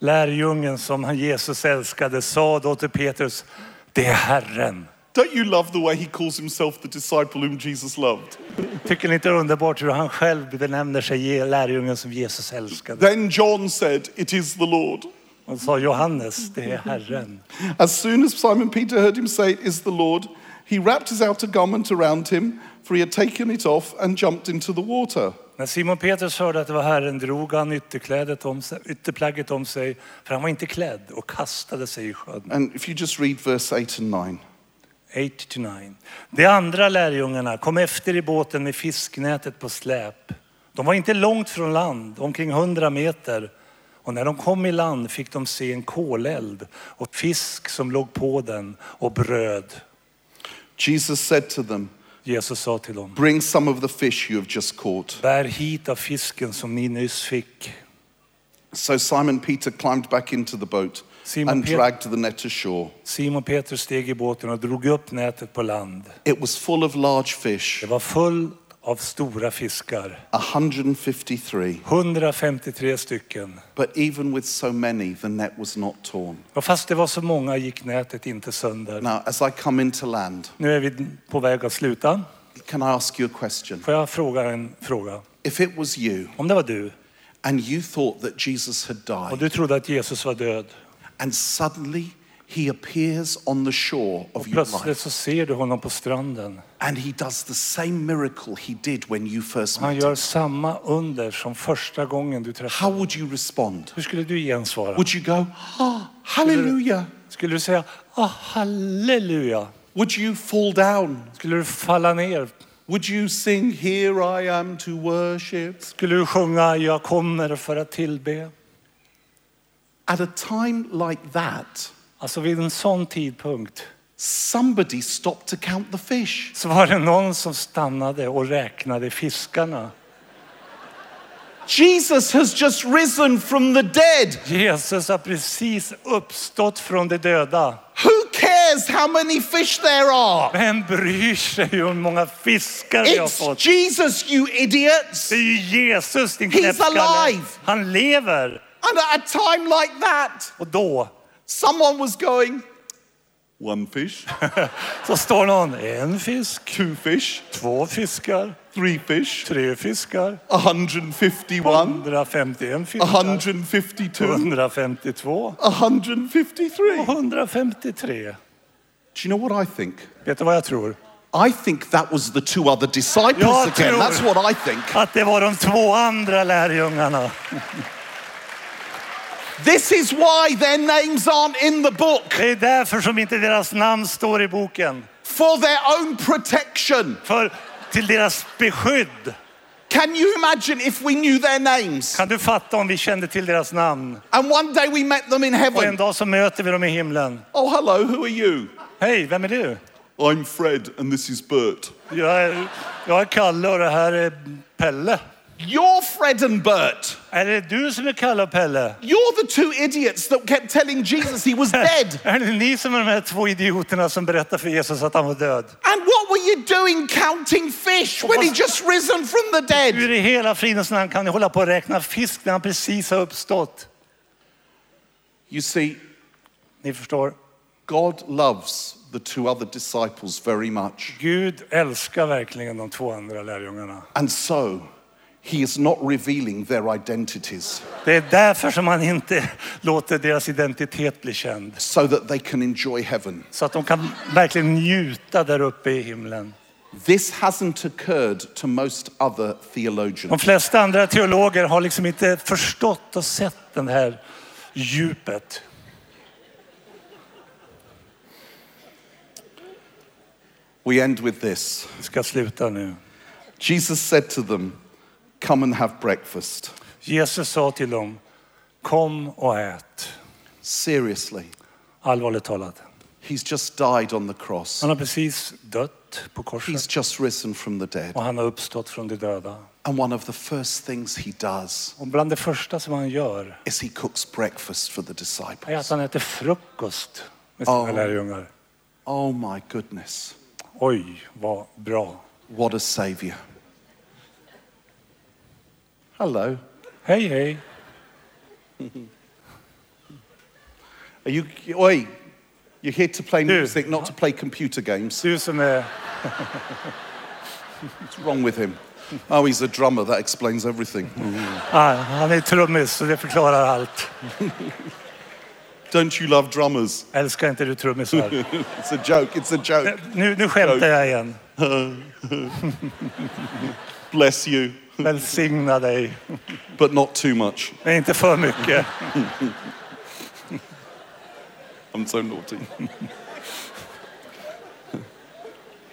Speaker 2: Lärjungen som han Jesus älskade sa då till Petrus, det är Herren.
Speaker 1: Don't you love the way he calls himself the disciple whom Jesus loved?
Speaker 2: Tycker ni inte det är underbart hur han själv benämner sig Je- lärjungen som Jesus älskade?
Speaker 1: Then John said, It is the Lord.
Speaker 2: Och sa Johannes, det är Herren.
Speaker 1: As soon as Simon Peter heard him say, It is the Lord, he wrapped his outer garment around him, for he had taken it off, and jumped into the water.
Speaker 2: När Simon Petrus hörde att det var Herren drog han ytterklädet om sig, ytterplagget om sig, för han var inte klädd, och kastade sig i sjön.
Speaker 1: And if you just read verse 8 and 9,
Speaker 2: 8-9. De andra lärjungarna kom efter i båten med fisknätet på släp. De var inte långt från land, omkring 100 meter. Och när de kom i land fick de se en koleld och fisk som låg på den och bröd.
Speaker 1: Jesus said to them,
Speaker 2: Jesus sa till dem,
Speaker 1: Bring some of the fish you have just caught.
Speaker 2: bär hit av fisken som ni nyss fick.
Speaker 1: So Simon Peter climbed back into the boat
Speaker 2: Simon
Speaker 1: and
Speaker 2: Pet-
Speaker 1: dragged the net ashore.
Speaker 2: Simon Petrus steg i båten och drog upp nätet på land.
Speaker 1: It was full of large fish,
Speaker 2: Det var fullt av stora fiskar,
Speaker 1: 153.
Speaker 2: 153 stycken.
Speaker 1: But even with so many, the net was not torn.
Speaker 2: Och fast det var så många gick nätet inte sönder.
Speaker 1: Now, as I come into land,
Speaker 2: Nu är vi på väg att sluta.
Speaker 1: can I ask you a question?
Speaker 2: Får jag fråga en fråga?
Speaker 1: If it was you
Speaker 2: Om det var du
Speaker 1: and you thought that Jesus had died,
Speaker 2: och du trodde att Jesus var död
Speaker 1: and suddenly he appears on the shore
Speaker 2: och
Speaker 1: of your life,
Speaker 2: plötsligt så ser du honom på stranden.
Speaker 1: and he does the same miracle he did when you first
Speaker 2: Han
Speaker 1: met
Speaker 2: gör
Speaker 1: him,
Speaker 2: samma under som första gången du
Speaker 1: how
Speaker 2: träffade
Speaker 1: would you respond?
Speaker 2: Hur skulle du gensvara?
Speaker 1: Would you go, ah, hallelujah?
Speaker 2: Skulle du säga ah, halleluja?
Speaker 1: Would you fall down?
Speaker 2: Skulle du falla ner?
Speaker 1: Would you sing, Here I am to worship?
Speaker 2: Skulle du sjunga jag kommer för att tillbe?
Speaker 1: At a time like that,
Speaker 2: Alltså vid en sån tidpunkt
Speaker 1: somebody stopped to count the fish.
Speaker 2: så var det någon som stannade och räknade fiskarna.
Speaker 1: Jesus has just risen from the dead.
Speaker 2: Jesus har precis uppstått från de döda.
Speaker 1: Who cares how many fish there are?
Speaker 2: Vem bryr sig hur många fiskar vi har
Speaker 1: It's
Speaker 2: fått?
Speaker 1: Jesus, you idiots.
Speaker 2: Det är ju Jesus, din
Speaker 1: He's
Speaker 2: knäppskalle.
Speaker 1: alive.
Speaker 2: Han lever.
Speaker 1: And at a time like that,
Speaker 2: Och då
Speaker 1: someone was going, one fish,
Speaker 2: så står någon, en fisk,
Speaker 1: two fish,
Speaker 2: två fiskar,
Speaker 1: three fish,
Speaker 2: tre fiskar,
Speaker 1: 151,
Speaker 2: 151 fiskar,
Speaker 1: 152,
Speaker 2: 152
Speaker 1: 153.
Speaker 2: och 153.
Speaker 1: Do you know what I think?
Speaker 2: Vet du vad jag tror?
Speaker 1: I think that was the two other disciples
Speaker 2: Ja,
Speaker 1: again.
Speaker 2: tror.
Speaker 1: That's what I think.
Speaker 2: Att det var de två andra lärjungarna.
Speaker 1: This is why their names aren't in the book
Speaker 2: Det är därför som inte deras namn står i boken.
Speaker 1: for their own protection.
Speaker 2: För till deras beskydd.
Speaker 1: Can you imagine if we knew their names
Speaker 2: Kan du fatta om vi kände till deras namn?
Speaker 1: and one day we met them in
Speaker 2: Och en
Speaker 1: heaven?
Speaker 2: dag så möter vi dem i himlen.
Speaker 1: Oh, hello, who are you?
Speaker 2: Hej, vem är du?
Speaker 1: I'm Fred and this is Bert.
Speaker 2: Jag är, jag är Kalle och det här är Pelle.
Speaker 1: You're Fred and Bert.
Speaker 2: Är det du som är Kalle och Pelle?
Speaker 1: You're the two idiots that kept telling Jesus he was dead.
Speaker 2: Är det ni som är de här två idioterna som berättar för Jesus att han var död?
Speaker 1: And what were you doing counting fish when he just risen from the dead?
Speaker 2: Hur i hela fridens namn kan ni hålla på och räkna fisk när han precis har uppstått?
Speaker 1: You see,
Speaker 2: Ni förstår,
Speaker 1: God loves the two other disciples very much.
Speaker 2: Gud älskar verkligen de två andra lärjungarna.
Speaker 1: And so, he is not revealing their identities
Speaker 2: Det är därför som han inte låter deras identitet bli känd.
Speaker 1: so that they can enjoy heaven.
Speaker 2: Så att de kan verkligen njuta där uppe i himlen.
Speaker 1: This hasn't occurred to most other
Speaker 2: De
Speaker 1: theologians.
Speaker 2: flesta andra teologer har liksom inte förstått och sett det här djupet.
Speaker 1: We end with this
Speaker 2: Vi ska sluta nu.
Speaker 1: Jesus said to them, Come and have breakfast.
Speaker 2: Jesus sa till dem, kom och ät.
Speaker 1: Seriously,
Speaker 2: Allvarligt talat.
Speaker 1: he's just died on the cross,
Speaker 2: Han har precis dött på korset
Speaker 1: he's just risen from the dead.
Speaker 2: och han har uppstått från de döda.
Speaker 1: And one of the first things he does
Speaker 2: Och bland det första som han gör
Speaker 1: is he cooks breakfast for the
Speaker 2: är att
Speaker 1: disciples.
Speaker 2: han äter frukost med sina
Speaker 1: Ja.
Speaker 2: lärjungar.
Speaker 1: Oh my goodness,
Speaker 2: Oj, vad bra.
Speaker 1: what a savior. Hello.
Speaker 2: Hej, hej.
Speaker 1: Are you, oi, you're here to play
Speaker 2: Dude.
Speaker 1: music, not to play computer games.
Speaker 2: Du som är...
Speaker 1: What's wrong with him? Oh, he's a drummer. That explains everything.
Speaker 2: Ah, han är trummis så det förklarar allt.
Speaker 1: Don't you love drummers?
Speaker 2: Älskar inte du trummisar?
Speaker 1: It's a joke. It's a joke.
Speaker 2: Nu, nu skämtar jag igen.
Speaker 1: Bless you,
Speaker 2: Välsigna dig.
Speaker 1: but not too much.
Speaker 2: Men inte för mycket.
Speaker 1: I'm so naughty.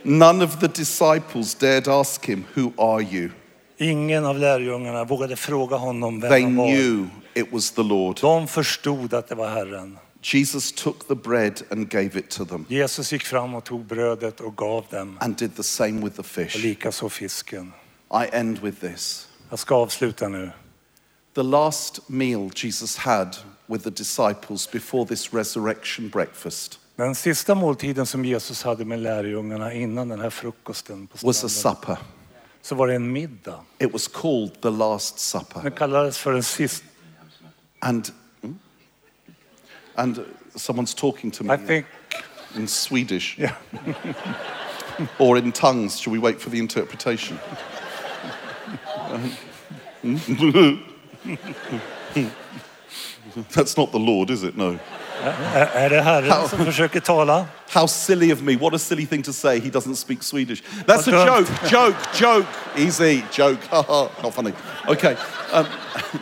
Speaker 1: None of the disciples dared ask him, Who are you?
Speaker 2: Ingen av lärjungarna vågade fråga honom vem
Speaker 1: They
Speaker 2: han var.
Speaker 1: knew it was the Lord.
Speaker 2: De förstod att det var Herren.
Speaker 1: Jesus took the bread and gave it to them,
Speaker 2: Jesus gick fram och tog brödet och gav dem.
Speaker 1: and did the same with the
Speaker 2: Och
Speaker 1: fish.
Speaker 2: likaså fisken.
Speaker 1: I end with this.
Speaker 2: Jag ska avsluta nu.
Speaker 1: The last meal Jesus had with the disciples before this resurrection breakfast
Speaker 2: Den sista måltiden som Jesus hade med lärjungarna innan den här frukosten på
Speaker 1: was a
Speaker 2: stranden
Speaker 1: supper.
Speaker 2: så var det en middag.
Speaker 1: It was called the Last Supper.
Speaker 2: Den kallades för den sista.
Speaker 1: And, hmm? and someone's talking to me
Speaker 2: I think...
Speaker 1: in Swedish
Speaker 2: Yeah.
Speaker 1: or in tongues. Shall we wait for the interpretation? That's not the Lord, is it? No.
Speaker 2: Är, är det Herren som försöker tala?
Speaker 1: How silly of me. What a silly thing to say. He doesn't speak Swedish. That's a
Speaker 2: I don't.
Speaker 1: joke, joke, joke. Easy, joke. Ha, ha. Not funny. Okay. Um,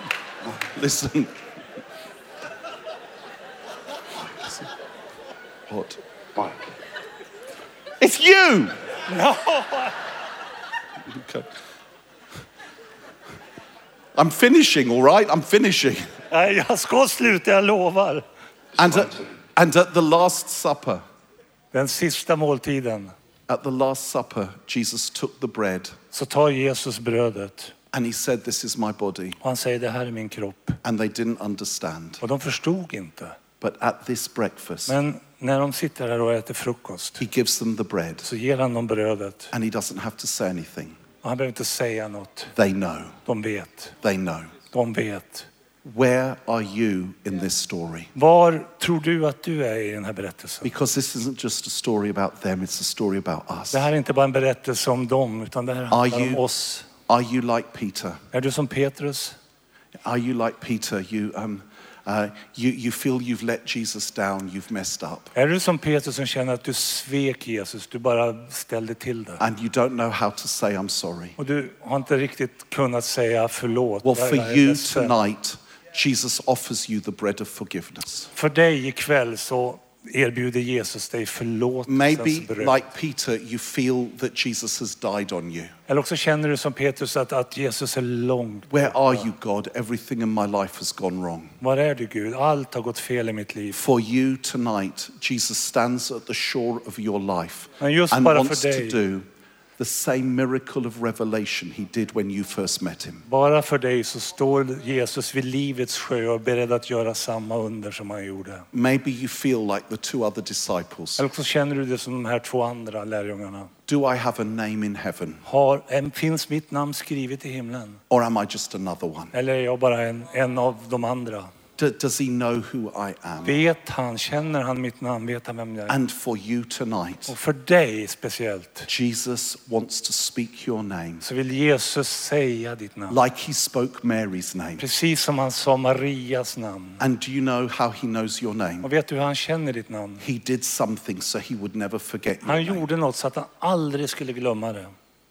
Speaker 1: listen. What? It's you! Okay. I'm finishing, all right? I'm finishing.
Speaker 2: Nej, jag ska sluta, jag lovar.
Speaker 1: And at, and at the Last Supper,
Speaker 2: Den sista måltiden
Speaker 1: at the Last Supper, Jesus took the bread.
Speaker 2: så tar Jesus brödet
Speaker 1: And he said, This is my body.
Speaker 2: och han säger det här är min kropp.
Speaker 1: And they didn't understand.
Speaker 2: Och de förstod inte.
Speaker 1: But at this breakfast,
Speaker 2: Men när de sitter här och äter frukost
Speaker 1: he gives them the bread.
Speaker 2: så ger han dem brödet
Speaker 1: And he doesn't have to say anything.
Speaker 2: och han behöver inte säga något.
Speaker 1: They know.
Speaker 2: De vet.
Speaker 1: They know.
Speaker 2: De vet.
Speaker 1: Where are you in this story?
Speaker 2: Var tror du att du är i den här berättelsen?
Speaker 1: Because this isn't just a story about them, it's a story about us.
Speaker 2: Det här är inte bara en berättelse om dem, utan det här handlar om
Speaker 1: you-
Speaker 2: oss.
Speaker 1: Are you like Peter?
Speaker 2: Är du som Petrus?
Speaker 1: Are you like Peter? You, um, uh, you, you feel you've let Jesus down, you've messed up,
Speaker 2: Är du som Petrus som känner att du svek Jesus, du bara ställde till det?
Speaker 1: and you don't know how to say, I'm sorry.
Speaker 2: Och du har inte riktigt kunnat säga förlåt.
Speaker 1: Well,
Speaker 2: Jag
Speaker 1: for
Speaker 2: är
Speaker 1: you
Speaker 2: ledsen.
Speaker 1: tonight, Jesus offers you the bread of forgiveness.
Speaker 2: För dig ikväll så erbjuder Jesus dig
Speaker 1: Maybe,
Speaker 2: förlåtelsens bröd.
Speaker 1: like Peter, you feel that Jesus has died on you.
Speaker 2: Eller också känner du som Petrus att, att Jesus är långt.
Speaker 1: Where are you, God? Everything in my life has gone wrong.
Speaker 2: Var är du Gud? Allt har gått fel i mitt liv.
Speaker 1: For you tonight, Jesus stands at the shore of your life
Speaker 2: Men just
Speaker 1: and
Speaker 2: bara
Speaker 1: wants
Speaker 2: för
Speaker 1: to
Speaker 2: dig.
Speaker 1: do the same miracle of revelation he did when you first met him.
Speaker 2: Bara för dig så står Jesus vid livets sjö och är beredd att göra samma under som han gjorde.
Speaker 1: Maybe you feel like the two other disciples.
Speaker 2: Eller också känner du det som de här två andra lärjungarna.
Speaker 1: Do I have a name in heaven
Speaker 2: Har, en- finns mitt namn skrivet i himlen?
Speaker 1: or am I just another one?
Speaker 2: Eller är jag bara en, en av de andra?
Speaker 1: D- does he know who I am?
Speaker 2: Vet han, känner han mitt namn, vet han vem jag är?
Speaker 1: And for you tonight,
Speaker 2: Och för dig speciellt
Speaker 1: Jesus wants to speak your name
Speaker 2: så vill Jesus säga ditt namn.
Speaker 1: like he spoke Mary's name.
Speaker 2: Precis som han sa Marias namn.
Speaker 1: And do you know how he knows your name?
Speaker 2: Och vet du hur han känner ditt namn?
Speaker 1: He did something so he would never forget your
Speaker 2: Han
Speaker 1: name.
Speaker 2: gjorde något så att han aldrig skulle glömma det.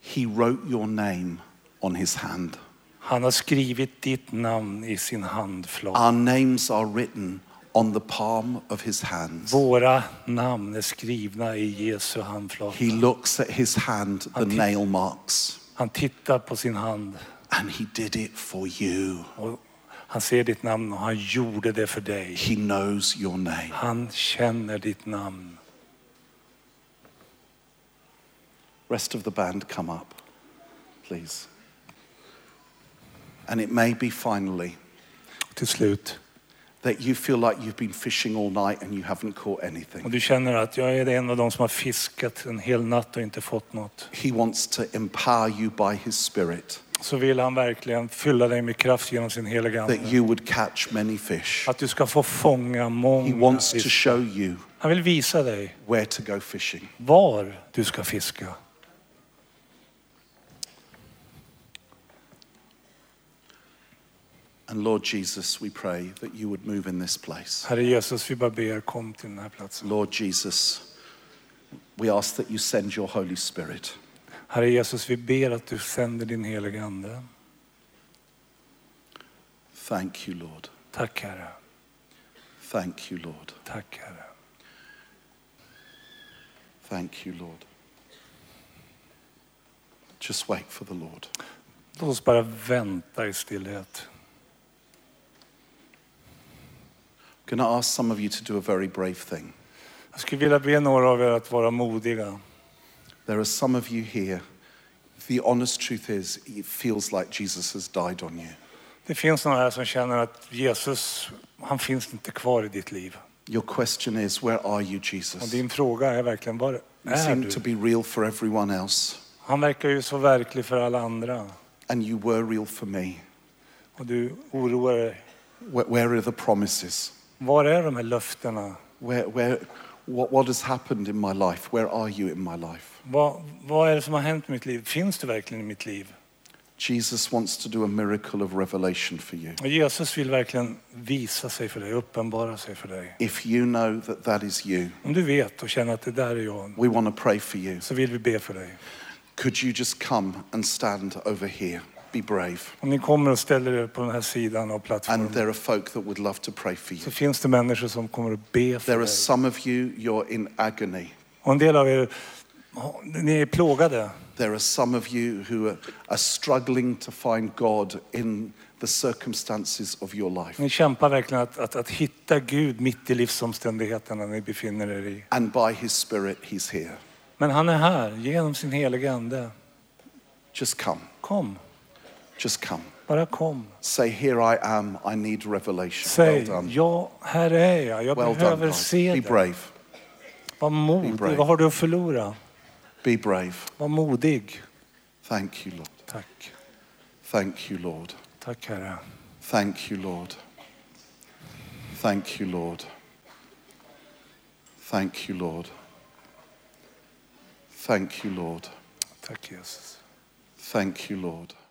Speaker 1: He wrote your name on his hand.
Speaker 2: Han har skrivit ditt namn i sin handflata.
Speaker 1: Our names are written on the palm of his hands.
Speaker 2: Våra namn är skrivna i Jesu handflata.
Speaker 1: He looks at his hand, the nail marks,
Speaker 2: Han tittar på sin hand
Speaker 1: and he did it for you.
Speaker 2: och han ser ditt namn och han gjorde det för dig.
Speaker 1: He knows your name.
Speaker 2: Han känner ditt namn.
Speaker 1: Rest of the band, come up, please. And it may be finally
Speaker 2: Till slut.
Speaker 1: that you feel like you've been fishing all night and you haven't caught
Speaker 2: Och
Speaker 1: anything.
Speaker 2: du känner att jag är en av de som har fiskat en hel natt och inte fått något.
Speaker 1: He wants to empower you by his spirit
Speaker 2: Så vill han verkligen fylla dig med kraft genom sin heliga
Speaker 1: that
Speaker 2: Ande.
Speaker 1: you would catch many fish.
Speaker 2: Att du ska få fånga
Speaker 1: He
Speaker 2: många
Speaker 1: wants to
Speaker 2: fisk.
Speaker 1: show you
Speaker 2: Han vill visa dig
Speaker 1: where to go fishing.
Speaker 2: var du ska fiska.
Speaker 1: And Lord Jesus, we pray that you would move in this place.
Speaker 2: Herre Jesus, vi bara ber, kom till den här platsen.
Speaker 1: Lord Jesus, we ask that you send your Holy Spirit.
Speaker 2: Herre Jesus, vi ber att du sänder din heliga Ande.
Speaker 1: Thank you, Lord.
Speaker 2: Tack Herre,
Speaker 1: Thank you, Lord.
Speaker 2: tack Herre.
Speaker 1: Thank you, Lord. Just wait for the Lord.
Speaker 2: Låt oss bara vänta i stillhet.
Speaker 1: I'm going to ask some of you to do a very brave thing.
Speaker 2: Jag skulle vilja be några av er att vara modiga.
Speaker 1: There are some of you here. The honest truth is, it feels like Jesus has died on you.
Speaker 2: Det finns några här som känner att Jesus, han finns inte kvar i ditt liv.
Speaker 1: Your question is, Where are you,
Speaker 2: Och
Speaker 1: Jesus?
Speaker 2: din fråga är verkligen, var
Speaker 1: You
Speaker 2: är
Speaker 1: seem to
Speaker 2: du?
Speaker 1: be real for everyone else,
Speaker 2: Han verkar ju så verklig för alla andra.
Speaker 1: and you were real for me.
Speaker 2: Och du oroar dig.
Speaker 1: Where, where are the promises?
Speaker 2: Var är de här löftena?
Speaker 1: Where, where, what, what has happened in my life? Where are you in my life?
Speaker 2: Vad, vad är det som har hänt i mitt liv? Finns du verkligen i mitt liv?
Speaker 1: Jesus wants to do a miracle of revelation for you.
Speaker 2: Och Jesus vill verkligen visa sig för dig, uppenbara sig för dig.
Speaker 1: If you know that that is you,
Speaker 2: Om du vet och känner att det där är jag,
Speaker 1: we want to pray for you.
Speaker 2: så vill vi be för dig.
Speaker 1: Could you just come and stand over here? Be brave.
Speaker 2: Om ni kommer och ställer er på den här sidan av
Speaker 1: And
Speaker 2: plattformen
Speaker 1: there are folk that would love to pray for
Speaker 2: så
Speaker 1: you.
Speaker 2: finns det människor som kommer att be för
Speaker 1: There are
Speaker 2: dig.
Speaker 1: some of you, you're in agony.
Speaker 2: Och en del av er, ja, ni är plågade.
Speaker 1: There are some of you who are, are struggling to find God in the circumstances of your life.
Speaker 2: Ni kämpar verkligen att, att, att hitta Gud mitt i livsomständigheterna ni befinner er i.
Speaker 1: And by His Spirit, He's here.
Speaker 2: Men han är här genom sin heliga Ande.
Speaker 1: Just come.
Speaker 2: Kom,
Speaker 1: Just come.
Speaker 2: bara kom.
Speaker 1: Say, Here I am. I need revelation.
Speaker 2: Säg,
Speaker 1: well done.
Speaker 2: ja, här är jag. Jag
Speaker 1: Well done.
Speaker 2: behöver
Speaker 1: God.
Speaker 2: se
Speaker 1: Be
Speaker 2: dig.
Speaker 1: brave.
Speaker 2: Var
Speaker 1: Be
Speaker 2: modig.
Speaker 1: brave.
Speaker 2: Vad har du att förlora?
Speaker 1: Be brave.
Speaker 2: Var modig.
Speaker 1: Thank you, Lord.
Speaker 2: Tack.
Speaker 1: Thank you, Lord.
Speaker 2: Tack Herre.
Speaker 1: Thank you, Lord. Thank you, Lord. Thank you, Lord. Thank you, Lord.
Speaker 2: Tack Jesus.
Speaker 1: Thank you, Lord.